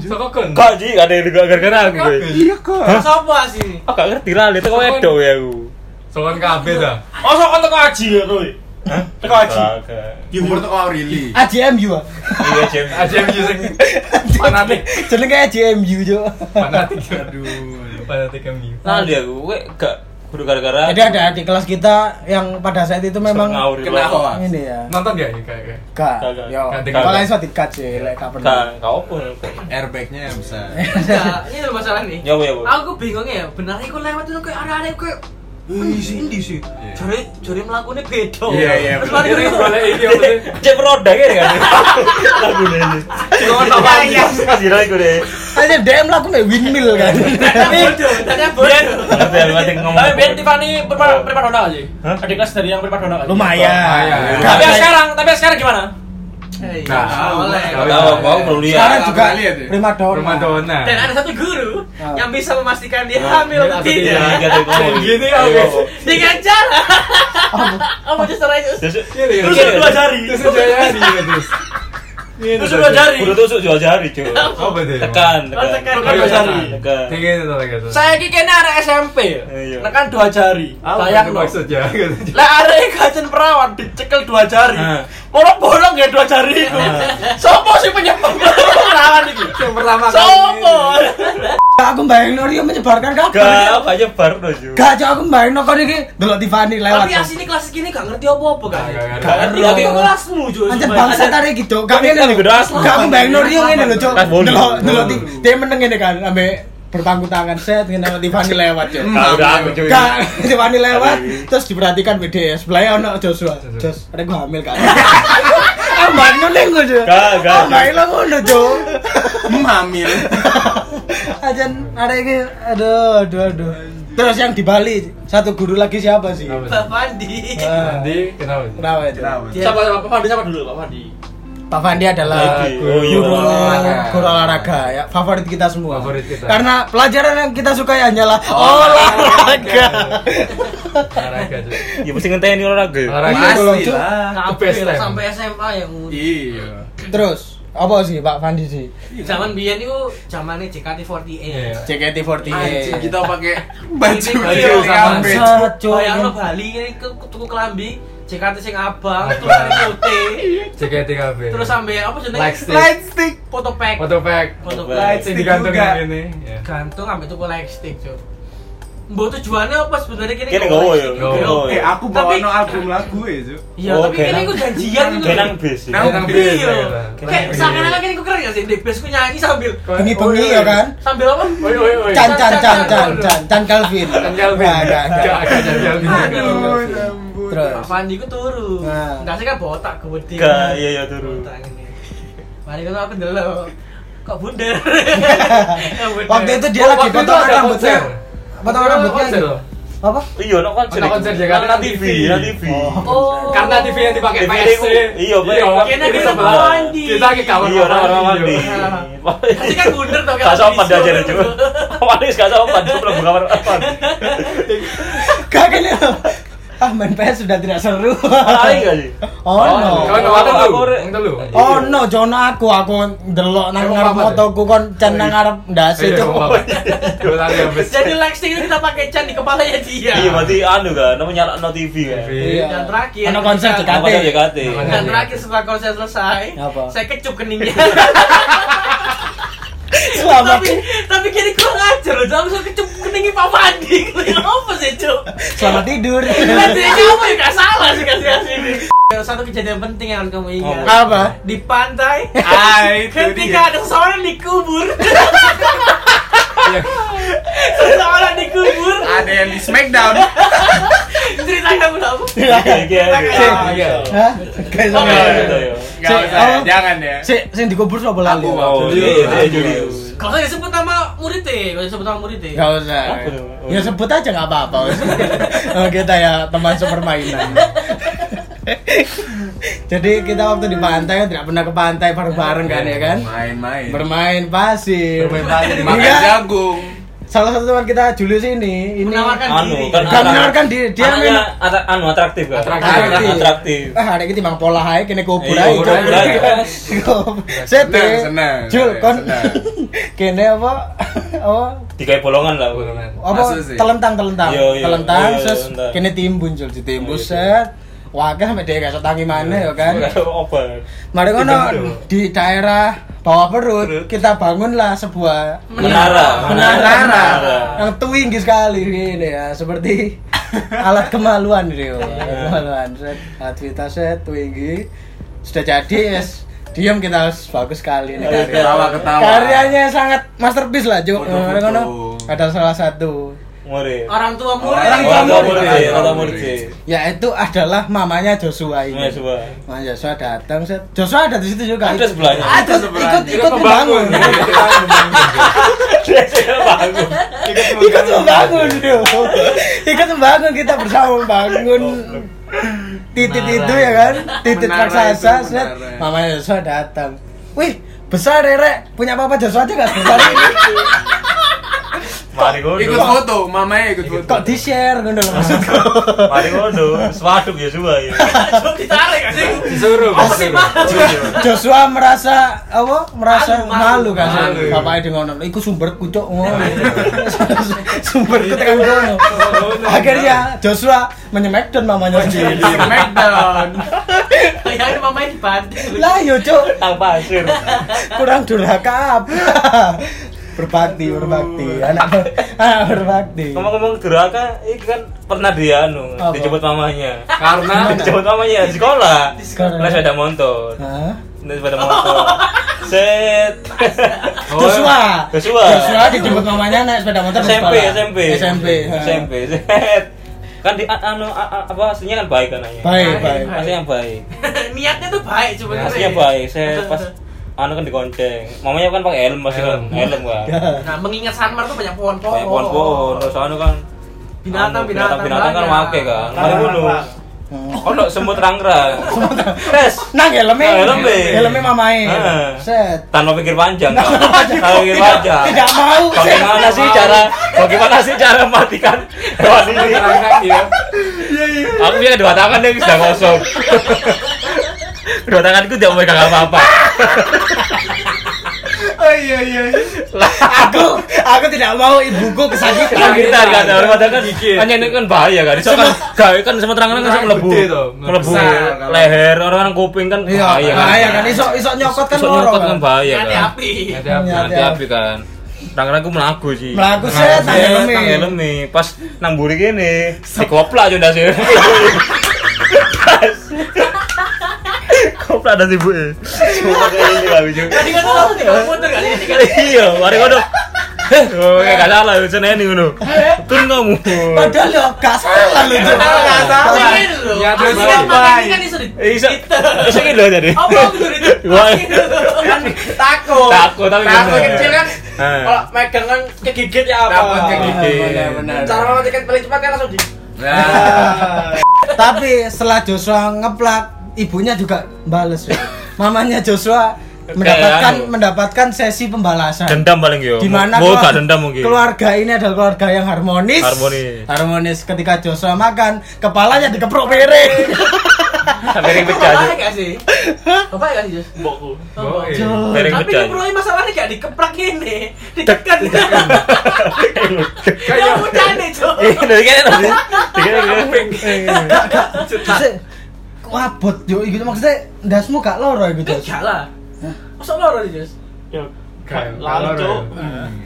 [SPEAKER 7] Soko kon.
[SPEAKER 6] Kak Ji, ada yang juga gara-gara aku. Bre.
[SPEAKER 5] Iya kok.
[SPEAKER 3] Sopo sih?
[SPEAKER 6] Aku gak ngerti lah, itu kok edo ya aku.
[SPEAKER 7] Soko kabeh dah.
[SPEAKER 8] Oh, sok kau teko aji ya, Roy. Teko aji.
[SPEAKER 6] Kagak.
[SPEAKER 5] Umur tuh Aureli.
[SPEAKER 4] AJMU ah.
[SPEAKER 6] Iya, Jim.
[SPEAKER 7] Aja music. Fanatik.
[SPEAKER 4] Jenenge AJMU jo.
[SPEAKER 7] Fanatik.
[SPEAKER 5] Aduh.
[SPEAKER 7] Fanatik kami.
[SPEAKER 6] Lali aku, gue gak kudu gara-gara.
[SPEAKER 4] Jadi ada adik kelas kita yang pada saat itu memang
[SPEAKER 6] ngawur
[SPEAKER 5] Kena hoax.
[SPEAKER 4] ini ya.
[SPEAKER 7] Nonton gak ya kayak?
[SPEAKER 4] Gak,
[SPEAKER 6] Kagak.
[SPEAKER 4] yo.
[SPEAKER 7] Kagak.
[SPEAKER 4] Kalau iso dikat sih, lek gak pernah.
[SPEAKER 6] Kan, kau pun.
[SPEAKER 5] Airbagnya bisa.
[SPEAKER 3] Enggak, ini loh masalah nih.
[SPEAKER 6] Ya, ya, ya.
[SPEAKER 3] Aku bingungnya ya, benar iku lewat itu kayak ada-ada kayak Wih, si Indi sih. Jare jare mlakune beda.
[SPEAKER 5] Iya, iya,
[SPEAKER 3] Terus
[SPEAKER 5] bener.
[SPEAKER 3] mari
[SPEAKER 7] Ini
[SPEAKER 3] ngono.
[SPEAKER 7] boleh ini apa sih?
[SPEAKER 6] Cek produk ya kan? Iya, Lagu ini. Kasih lagi gue deh.
[SPEAKER 4] Aja DM laku nih windmill kan.
[SPEAKER 3] Tapi tanya
[SPEAKER 8] Biar
[SPEAKER 3] bodoh.
[SPEAKER 6] Biar mati ngomong.
[SPEAKER 8] Tapi biar Tiffany prima prima donna nggak sih? Ada kelas dari yang prima donna nggak sih?
[SPEAKER 4] Iya.
[SPEAKER 3] Iya.
[SPEAKER 4] Lumayan.
[SPEAKER 8] Tapi
[SPEAKER 5] Iya.
[SPEAKER 8] yang sekarang, tapi yang sekarang gimana?
[SPEAKER 5] Nah, boleh.
[SPEAKER 6] Tahu bau perlu
[SPEAKER 4] Sekarang
[SPEAKER 6] lihat.
[SPEAKER 4] juga
[SPEAKER 7] lihat ya.
[SPEAKER 4] primadona.
[SPEAKER 7] Primadona.
[SPEAKER 3] Dan ada satu guru yang bisa memastikan dia hamil atau
[SPEAKER 6] Iya,
[SPEAKER 3] tidak.
[SPEAKER 6] kata kamu.
[SPEAKER 8] Oh,
[SPEAKER 7] Gini ya, guys.
[SPEAKER 3] Dengan cara apa justru itu?
[SPEAKER 6] Terus-
[SPEAKER 5] Iya,
[SPEAKER 8] Terus dua jari.
[SPEAKER 7] Terus aja di terus.
[SPEAKER 8] Terus dua jari.
[SPEAKER 6] Kudu tusuk jual jari, cuy.
[SPEAKER 7] Apa deh?
[SPEAKER 6] Tekan,
[SPEAKER 3] Oh, tekan.
[SPEAKER 6] tekan.
[SPEAKER 5] iya,
[SPEAKER 8] Tekan dua jari.
[SPEAKER 6] Tekan.
[SPEAKER 7] Tinggi itu lagi tuh.
[SPEAKER 8] Saya ini kayaknya arek SMP.
[SPEAKER 6] Iya.
[SPEAKER 8] Nekan Nah, kan dua jari. Sayang no.
[SPEAKER 7] maksudnya?
[SPEAKER 8] Lah arek gajen perawat dicekel dua jari.
[SPEAKER 6] Heeh.
[SPEAKER 8] Orang bolong ya dua jari itu. Sopo sih penyebab perawat iki?
[SPEAKER 7] Yang pertama
[SPEAKER 8] Sopo?
[SPEAKER 4] Aku bayangin dia menyebarkan
[SPEAKER 6] Gak
[SPEAKER 4] kabar.
[SPEAKER 6] apa aja bar tuh, cuy.
[SPEAKER 4] Gak aja aku bayangin kok iki delok Tiffany lewat.
[SPEAKER 3] Tapi asini kelas gini gak ngerti apa-apa kan.
[SPEAKER 7] Gak
[SPEAKER 3] Gak ngerti
[SPEAKER 6] ngerti.
[SPEAKER 3] kok kelasmu Jus.
[SPEAKER 4] Anjir bangsa tarik gitu. Gak
[SPEAKER 6] Tapi
[SPEAKER 4] ngene
[SPEAKER 6] kan
[SPEAKER 4] lho.
[SPEAKER 6] juga asli.
[SPEAKER 4] Gak aku bayangin dia ngene lho, Cuk.
[SPEAKER 6] Kan bolu.
[SPEAKER 4] Delok delok
[SPEAKER 6] Bolu.
[SPEAKER 4] Ti- dia meneng ngene kan ambe berpangku tangan set ngene sama Tiffany lewat, Cuk.
[SPEAKER 6] Gak udah aku, cuy.
[SPEAKER 4] Gak Tiffany lewat terus diperhatikan BDS. Sebelahnya ya ono Joshua. Jos, ada gua hamil Ah, kan. Ambar neng gua, Cuk.
[SPEAKER 6] Gak, gak.
[SPEAKER 4] Ambar lo ngono, Cuk.
[SPEAKER 5] Hamil.
[SPEAKER 4] Ajan ada iki aduh aduh aduh. Terus yang di Bali satu guru lagi siapa sih?
[SPEAKER 7] Apa?
[SPEAKER 3] Pak
[SPEAKER 7] Eh,
[SPEAKER 3] Fandi.
[SPEAKER 4] Ah,
[SPEAKER 7] Nanti kenapa? sih?
[SPEAKER 4] Kenapa itu?
[SPEAKER 5] Kenapa?
[SPEAKER 8] Siapa Pak Fandi siapa dulu Pak Fandi?
[SPEAKER 4] Pak Fandi adalah
[SPEAKER 6] Lagi.
[SPEAKER 4] guru,
[SPEAKER 6] Oh, iya.
[SPEAKER 4] guru olahraga.
[SPEAKER 7] Olahraga.
[SPEAKER 4] guru olahraga ya favorit kita semua.
[SPEAKER 7] Iya. Favorit kita. Oh.
[SPEAKER 4] Karena pelajaran yang kita sukai hanyalah olahraga.
[SPEAKER 7] Olahraga. cuy.
[SPEAKER 6] Ya mesti ngenteni olahraga. ya.
[SPEAKER 7] Olahraga.
[SPEAKER 4] Iya, tolong, Cuk.
[SPEAKER 7] The
[SPEAKER 3] Sampai
[SPEAKER 7] best time.
[SPEAKER 3] sampai SMA ya ngurus.
[SPEAKER 5] Iya.
[SPEAKER 4] Terus apa sih Pak Fandi sih?
[SPEAKER 3] Zaman biyen itu zamannya JKT48.
[SPEAKER 7] Iya.
[SPEAKER 4] JKT48.
[SPEAKER 5] Anjing, Iya, kita pakai baju
[SPEAKER 3] Ini
[SPEAKER 5] baju
[SPEAKER 3] kayak
[SPEAKER 5] sama
[SPEAKER 4] Bangsat, Cuk.
[SPEAKER 3] Bayangno Bali ini ke tuku kelambi, JKT sing abang,
[SPEAKER 7] Abang.
[SPEAKER 3] terus ada putih,
[SPEAKER 7] JKT48.
[SPEAKER 3] terus sampai apa jenenge?
[SPEAKER 7] Lightstick.
[SPEAKER 3] Lightstick. Foto pack.
[SPEAKER 7] Foto pack.
[SPEAKER 3] Foto
[SPEAKER 6] Lightstick
[SPEAKER 3] pack.
[SPEAKER 7] Sing digantungin
[SPEAKER 5] juga.
[SPEAKER 7] ini. Iya.
[SPEAKER 3] Gantung sampai tuku lightstick, Cuk. Mbok tujuannya apa sebenarnya kini?
[SPEAKER 6] Kini gowo ya.
[SPEAKER 7] Gowo.
[SPEAKER 3] Oh,
[SPEAKER 6] Gowo
[SPEAKER 5] Eh,
[SPEAKER 6] ya.
[SPEAKER 5] aku bawa
[SPEAKER 3] Tapi-
[SPEAKER 5] no album lagu ya, Cuk.
[SPEAKER 3] Iya,
[SPEAKER 6] Oh,
[SPEAKER 3] tapi kini
[SPEAKER 6] Genang.
[SPEAKER 3] aku janjian gitu.
[SPEAKER 6] Kenang bis. ya.
[SPEAKER 5] Nang-
[SPEAKER 7] Nang
[SPEAKER 3] Iya.
[SPEAKER 7] bis, iya.
[SPEAKER 3] Kayak seakan-akan kini aku keren gak sih? Di base ku nyanyi sambil
[SPEAKER 7] Oh,
[SPEAKER 4] Bengi-bengi
[SPEAKER 7] iya,
[SPEAKER 4] ya kan?
[SPEAKER 3] sambil apa?
[SPEAKER 7] Oi oi oi.
[SPEAKER 4] Can can can can can can Calvin.
[SPEAKER 7] Can Calvin.
[SPEAKER 4] Nah, nah, nah.
[SPEAKER 7] Gak, gak, Can Calvin.
[SPEAKER 3] Aduh. Pak
[SPEAKER 4] Terus
[SPEAKER 3] Fandi ku turu.
[SPEAKER 4] Nah.
[SPEAKER 3] Ndase kan botak gede.
[SPEAKER 6] Gak, iya iya turu.
[SPEAKER 3] Botak ini. Mari kita aku ndelok. Kok bundar?
[SPEAKER 4] waktu itu dia
[SPEAKER 7] Oh, Waktu
[SPEAKER 4] lagi
[SPEAKER 7] itu
[SPEAKER 4] potongan
[SPEAKER 7] ada
[SPEAKER 4] rambutnya.
[SPEAKER 7] konser.
[SPEAKER 4] Potongan
[SPEAKER 7] Ada
[SPEAKER 4] rambutnya.
[SPEAKER 7] konser
[SPEAKER 4] gitu.
[SPEAKER 7] loh.
[SPEAKER 4] Apa?
[SPEAKER 6] Iya, nak konser.
[SPEAKER 7] Ono
[SPEAKER 6] iku.
[SPEAKER 7] konser Jakarta.
[SPEAKER 6] Nang TV, nang TV.
[SPEAKER 3] Oh.
[SPEAKER 7] Karena TV yang dipakai
[SPEAKER 6] TV
[SPEAKER 7] PS.
[SPEAKER 6] Iya, Pak.
[SPEAKER 3] Kena
[SPEAKER 7] kita
[SPEAKER 3] kita
[SPEAKER 7] sebelah.
[SPEAKER 3] mandi.
[SPEAKER 7] Kita ke kamar
[SPEAKER 6] Iya, orang orang mandi.
[SPEAKER 3] Pasti kan bundar tau
[SPEAKER 6] Gak sopan
[SPEAKER 3] habis.
[SPEAKER 6] dah jadi cuy. Manis gak sopan, cuy. Belum kamar apa.
[SPEAKER 4] Gak gini loh. Ah main PS sudah tidak seru.
[SPEAKER 6] Lari gak sih?
[SPEAKER 4] Oh no.
[SPEAKER 7] Kau
[SPEAKER 6] Oh,
[SPEAKER 7] nonton
[SPEAKER 6] aku
[SPEAKER 7] lu.
[SPEAKER 6] re-
[SPEAKER 7] Nonton lu.
[SPEAKER 4] Oh no, jono aku, aku ndelok nang
[SPEAKER 7] Emang
[SPEAKER 4] ngarep
[SPEAKER 7] apa,
[SPEAKER 4] motoku kon cen nang ngarep ndas
[SPEAKER 7] Iya,
[SPEAKER 4] itu.
[SPEAKER 7] nggak apa-apa. Dua lari habis.
[SPEAKER 3] Jadi lightstick itu kita pakai can di kepalanya dia.
[SPEAKER 6] Iya, berarti anu kan, namanya nyala no TV kan.
[SPEAKER 7] Iya.
[SPEAKER 3] Dan terakhir.
[SPEAKER 4] Ono konser di
[SPEAKER 6] Apa
[SPEAKER 4] KT.
[SPEAKER 6] JKT?
[SPEAKER 3] Dan terakhir setelah konser selesai,
[SPEAKER 4] Apa?
[SPEAKER 3] saya kecup keningnya.
[SPEAKER 4] Selama
[SPEAKER 3] tapi tapi kini kurang ajar loh, jangan langsung kecup keningnya Pak Fandi. Kenapa sih, Cuk?
[SPEAKER 4] selamat tidur.
[SPEAKER 3] Kejadiannya apa ya? Gak salah sih kasih kasih ini. Satu kejadian penting yang harus kamu ingat.
[SPEAKER 4] Apa?
[SPEAKER 3] Di pantai,
[SPEAKER 4] Ah,
[SPEAKER 5] Hai, iya.
[SPEAKER 3] ketika ada seseorang dikubur. seseorang dikubur.
[SPEAKER 5] ada yang di Smackdown.
[SPEAKER 3] Cerita kamu apa?
[SPEAKER 6] Iya, iya.
[SPEAKER 7] Iya.
[SPEAKER 4] Hah? Kayak sama.
[SPEAKER 6] Iya, gitu ya.
[SPEAKER 5] Gak
[SPEAKER 4] oh. Cek,
[SPEAKER 5] usah,
[SPEAKER 4] apa?
[SPEAKER 5] jangan ya.
[SPEAKER 4] Si sing dikubur sapa lali?
[SPEAKER 5] Aku,
[SPEAKER 6] Oh,
[SPEAKER 5] aku.
[SPEAKER 6] iya, iya, Julius.
[SPEAKER 3] Kalau saya disebut nama muridnya, kalau disebut nama muridnya.
[SPEAKER 4] Gak usah.
[SPEAKER 6] Apa tuh?
[SPEAKER 4] Ya sebut aja nggak apa-apa. Oh, kita ya teman sepermainan. Jadi kita waktu di pantai tidak pernah ke pantai bareng-bareng kan ya kan?
[SPEAKER 5] Main-main.
[SPEAKER 4] Bermain pasir, Iya. bermain pasir.
[SPEAKER 5] Makan
[SPEAKER 4] Enggak,
[SPEAKER 5] jagung.
[SPEAKER 4] salah satu teman kita Julius ini ini
[SPEAKER 3] Menawarkan
[SPEAKER 6] Anu,
[SPEAKER 3] diri.
[SPEAKER 6] kan-
[SPEAKER 4] gak menawarkan diri dia
[SPEAKER 6] Anaknya
[SPEAKER 4] main
[SPEAKER 6] ada anu atraktif kan?
[SPEAKER 7] Atraktif.
[SPEAKER 6] Atraktif. Atraktif.
[SPEAKER 4] ah ada kita bang pola hai kene kubur
[SPEAKER 6] Iya,
[SPEAKER 4] ae
[SPEAKER 6] kubur ae, guys.
[SPEAKER 4] set eh.
[SPEAKER 5] Senang, senang.
[SPEAKER 4] jul
[SPEAKER 5] Senang.
[SPEAKER 4] kon kene apa apa
[SPEAKER 6] Tiga bolongan lah. Bu.
[SPEAKER 7] Bolongan.
[SPEAKER 4] apa
[SPEAKER 5] Masuk sih.
[SPEAKER 4] telentang telentang
[SPEAKER 6] Iya, iya.
[SPEAKER 4] telentang
[SPEAKER 6] Iya, iya,
[SPEAKER 4] terus
[SPEAKER 6] telentang.
[SPEAKER 4] kene timbun jul ditimbun
[SPEAKER 6] Iya, iya.
[SPEAKER 4] set wakil sampe dia gak tangi mana ya kan
[SPEAKER 6] Gak ada obat.
[SPEAKER 4] mari ngono
[SPEAKER 7] Timbun.
[SPEAKER 4] di daerah bawah perut kita bangunlah sebuah
[SPEAKER 6] Menara.
[SPEAKER 4] menara
[SPEAKER 6] Menara.
[SPEAKER 4] yang tinggi sekali ini ya seperti alat kemaluan Rio alat kemaluan set alat kita set tinggi sudah jadi yes. diam kita harus bagus sekali ini karya
[SPEAKER 5] Ketawa-ketawa.
[SPEAKER 4] karyanya sangat masterpiece lah Juk
[SPEAKER 5] Betul,
[SPEAKER 4] Ngono-ngono.
[SPEAKER 5] betul.
[SPEAKER 4] ada salah satu
[SPEAKER 6] murid.
[SPEAKER 3] Orang tua murid.
[SPEAKER 5] Orang tua
[SPEAKER 6] Orang tua
[SPEAKER 5] murid.
[SPEAKER 6] murid, orang tua murid.
[SPEAKER 4] Ya itu adalah mamanya Joshua ini.
[SPEAKER 6] Nah, coba.
[SPEAKER 4] Nah, Joshua datang, set. Joshua ada di situ juga.
[SPEAKER 6] Ada sebelahnya.
[SPEAKER 4] Ada ikut ikut membangun.
[SPEAKER 6] Dia sudah bangun.
[SPEAKER 4] ikut membangun. yo. ikut membangun kita bersama membangun titik
[SPEAKER 3] Menara.
[SPEAKER 4] itu ya kan, titik
[SPEAKER 5] Menara
[SPEAKER 4] raksasa.
[SPEAKER 5] itu,
[SPEAKER 4] set.
[SPEAKER 5] menara.
[SPEAKER 4] Mamanya Joshua datang. Wih, besar Rere. Punya papa Joshua aja gak sebesar ini.
[SPEAKER 6] Mari kodo.
[SPEAKER 5] Ikut foto, mamanya ikut foto.
[SPEAKER 4] Kok di-share ngono lho maksudku.
[SPEAKER 6] Mari kodo. Swaduk ya coba ya.
[SPEAKER 3] Langsung ditarik kan sih.
[SPEAKER 7] Disuruh.
[SPEAKER 4] Joshua merasa apa? Merasa malu,
[SPEAKER 3] Malu, malu.
[SPEAKER 4] kan.
[SPEAKER 7] Malu.
[SPEAKER 4] Bapaknya di ngono. Iku sumberku cuk ngono. sumberku tekan ngono. Akhirnya Joshua menyemek dan mamanya sendiri.
[SPEAKER 5] Smackdown.
[SPEAKER 3] Bayangin mamanya dibanting.
[SPEAKER 4] Lah yo cuk,
[SPEAKER 6] Tang pasir.
[SPEAKER 4] kurang durhaka apa? berbakti, berbakti. Anak anak berbakti.
[SPEAKER 6] Ngomong-ngomong Duraka, ini kan pernah dia anu
[SPEAKER 4] Apa?
[SPEAKER 6] dijemput mamanya.
[SPEAKER 7] Karena
[SPEAKER 6] Dijemput mamanya di sekolah. Di
[SPEAKER 4] sekolah.
[SPEAKER 6] Kelas ada motor.
[SPEAKER 4] Hah?
[SPEAKER 6] Kelas ada motor. Set.
[SPEAKER 4] Joshua.
[SPEAKER 6] Oh, Joshua.
[SPEAKER 4] Joshua dijemput mamanya naik sepeda motor ke
[SPEAKER 6] SMP,
[SPEAKER 4] sekolah.
[SPEAKER 6] SMP.
[SPEAKER 4] SMP. ha.
[SPEAKER 6] SMP. Set. Kan di a- anu a- a- apa aslinya kan baik anaknya.
[SPEAKER 4] Baik, baik.
[SPEAKER 6] Aslinya yang baik. Nah,
[SPEAKER 3] Niatnya tuh baik cuma
[SPEAKER 6] Aslinya baik. Saya pas anu kan digonceng. Mamanya kan pakai helm pasti kan.
[SPEAKER 7] Helm.
[SPEAKER 6] Helm kan.
[SPEAKER 3] Nah, mengingat Sanmar tuh banyak
[SPEAKER 6] Kayak
[SPEAKER 3] pohon-pohon.
[SPEAKER 6] pohon-pohon terus anu kan
[SPEAKER 3] Binatang,
[SPEAKER 6] anu,
[SPEAKER 3] binatang,
[SPEAKER 6] binatang kan
[SPEAKER 3] banyak.
[SPEAKER 6] wake kan. Mari ngono. Ono semut rangkrang. Tes.
[SPEAKER 4] Nang helme.
[SPEAKER 6] Nah, helme.
[SPEAKER 4] Helme mamae.
[SPEAKER 6] Heeh.
[SPEAKER 4] Set.
[SPEAKER 6] tanpa pikir panjang kan? tanpa pikir
[SPEAKER 4] Tidak,
[SPEAKER 6] panjang
[SPEAKER 4] tidak mau.
[SPEAKER 6] bagaimana sih cara bagaimana sih cara mematikan hewan ini
[SPEAKER 7] iya.
[SPEAKER 6] aku punya dua tangan yang sudah kosong dua tanganku tidak memegang apa-apa
[SPEAKER 5] Oh iya iya.
[SPEAKER 4] aku aku tidak mau ibuku kesakitan
[SPEAKER 6] kita kan padahal kan hanya ini kan bahaya kan bisa kan gawe kan semua terang kan bisa melebu
[SPEAKER 7] Gede toh,
[SPEAKER 6] melebu
[SPEAKER 5] besar kan.
[SPEAKER 6] leher orang-orang kuping kan
[SPEAKER 4] iya
[SPEAKER 6] bahaya kan
[SPEAKER 4] bahaya kan iso iso nyokot kan
[SPEAKER 6] Besok
[SPEAKER 4] loro
[SPEAKER 6] nyokot kan bahaya
[SPEAKER 3] Hati
[SPEAKER 6] kan
[SPEAKER 3] api.
[SPEAKER 7] ada
[SPEAKER 4] Iya.
[SPEAKER 6] hati-hati kan Tangan-tanganku melaku sih
[SPEAKER 4] melaku set nang
[SPEAKER 6] Iya,
[SPEAKER 4] helme.
[SPEAKER 6] nang helme. Pas nang buri kene, dikoplak aja ndas ya. Koplak ndas ibu e. Cuma kayak ini lah Biju.
[SPEAKER 3] Tadi kan tuh di komputer kan ini kan.
[SPEAKER 6] Iya, mari kono. Heh, oh, kayak gak salah, cenah ini ngono. Turun kamu.
[SPEAKER 4] padahal yo gak salah lho Cuk.
[SPEAKER 3] Nggak salah. Ini lho.
[SPEAKER 7] Ya, terus
[SPEAKER 3] Aslinya
[SPEAKER 7] apa?
[SPEAKER 3] makan ini kan iso di- Oh,
[SPEAKER 6] Bisa, bisa Eh, gitu aja deh.
[SPEAKER 3] Apa gitu. aku dulu itu?
[SPEAKER 6] Wah.
[SPEAKER 3] Asli dulu. Kan
[SPEAKER 2] takut
[SPEAKER 6] Takut, tapi
[SPEAKER 2] takut
[SPEAKER 6] bener.
[SPEAKER 2] kecil kan
[SPEAKER 6] Nah.
[SPEAKER 2] kalau megang kan kegigit ya apa
[SPEAKER 5] Takut
[SPEAKER 4] Ah,
[SPEAKER 5] kegigit.
[SPEAKER 2] Nah, cara mematikan paling cepat kan langsung di
[SPEAKER 4] tapi setelah Joshua ngeplak ibunya juga bales Cuk. mamanya Joshua mendapatkan
[SPEAKER 6] anu.
[SPEAKER 4] mendapatkan sesi pembalasan
[SPEAKER 6] Dendam paling yo.
[SPEAKER 4] di mana
[SPEAKER 6] Mau gak
[SPEAKER 4] keluar-
[SPEAKER 6] dendam mungkin.
[SPEAKER 4] keluarga ini adalah keluarga yang harmonis
[SPEAKER 6] Harmonis.
[SPEAKER 4] harmonis ketika Joshua makan kepalanya dikeprok piring
[SPEAKER 6] Piring pecah.
[SPEAKER 3] Bapak gak sih? Bapak gak sih, Oh, Jos? Mbokku.
[SPEAKER 6] Piring
[SPEAKER 3] Tapi
[SPEAKER 6] pecah.
[SPEAKER 3] keperluan masalahnya gak dikeprak ini. Ditekan. Ya udah nih, Jos.
[SPEAKER 4] Eh.
[SPEAKER 6] Iya, dari kene ndas. Dikene kuping.
[SPEAKER 4] Maksudnya, wabot yo gitu maksudnya ndasmu gak loro iku
[SPEAKER 3] Kan
[SPEAKER 4] Jos.
[SPEAKER 3] gak lah. Masa loro nih, Jos?
[SPEAKER 7] Lalu cok.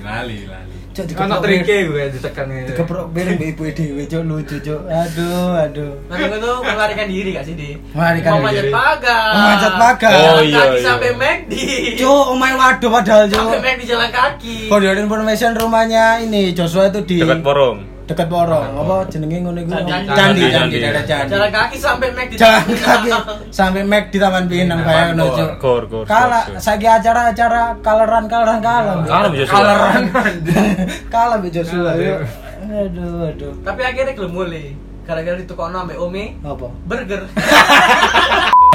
[SPEAKER 5] Lali lali.
[SPEAKER 4] Cuk
[SPEAKER 7] Kan
[SPEAKER 4] dikeprok
[SPEAKER 7] triknya gue ditekan ini.
[SPEAKER 4] dikeprok piring mbek ibu dhewe cuk lucu cuk. Aduh aduh.
[SPEAKER 3] Nanti gue tuh melarikan diri gak sih, Di?
[SPEAKER 4] Melarikan
[SPEAKER 3] Mau manjat
[SPEAKER 4] diri.
[SPEAKER 3] pagar.
[SPEAKER 4] Memanjat pagar.
[SPEAKER 6] Oh,
[SPEAKER 3] Jalan
[SPEAKER 6] iya,
[SPEAKER 3] kaki
[SPEAKER 6] iya.
[SPEAKER 3] sampai McD.
[SPEAKER 4] Cuk omahe waduh padahal cuk.
[SPEAKER 3] Iya. Sampai McD jalan kaki.
[SPEAKER 4] For your information rumahnya ini Joshua itu di
[SPEAKER 6] Dekat porong.
[SPEAKER 4] dekat Porong. Apa jenenge ngono iku?
[SPEAKER 3] Candi.
[SPEAKER 4] Candi,
[SPEAKER 6] Candi.
[SPEAKER 4] candi, daerah candi.
[SPEAKER 3] Jalan kaki sampai McD.
[SPEAKER 4] Jalan kaki sampai Mac di Taman Pinang kayak ngono cuk.
[SPEAKER 6] Gor, gor.
[SPEAKER 4] Kala saiki acara-acara kaleran kaleran kalem.
[SPEAKER 6] Kalem, Joshua.
[SPEAKER 4] Kaleran. Kalem Mbak Joshua. yuk. Aduh aduh.
[SPEAKER 3] Tapi akhirnya gelemule. Gara-gara ditukokno ambek Ome
[SPEAKER 4] Apa?
[SPEAKER 3] burger.
[SPEAKER 4] Iya.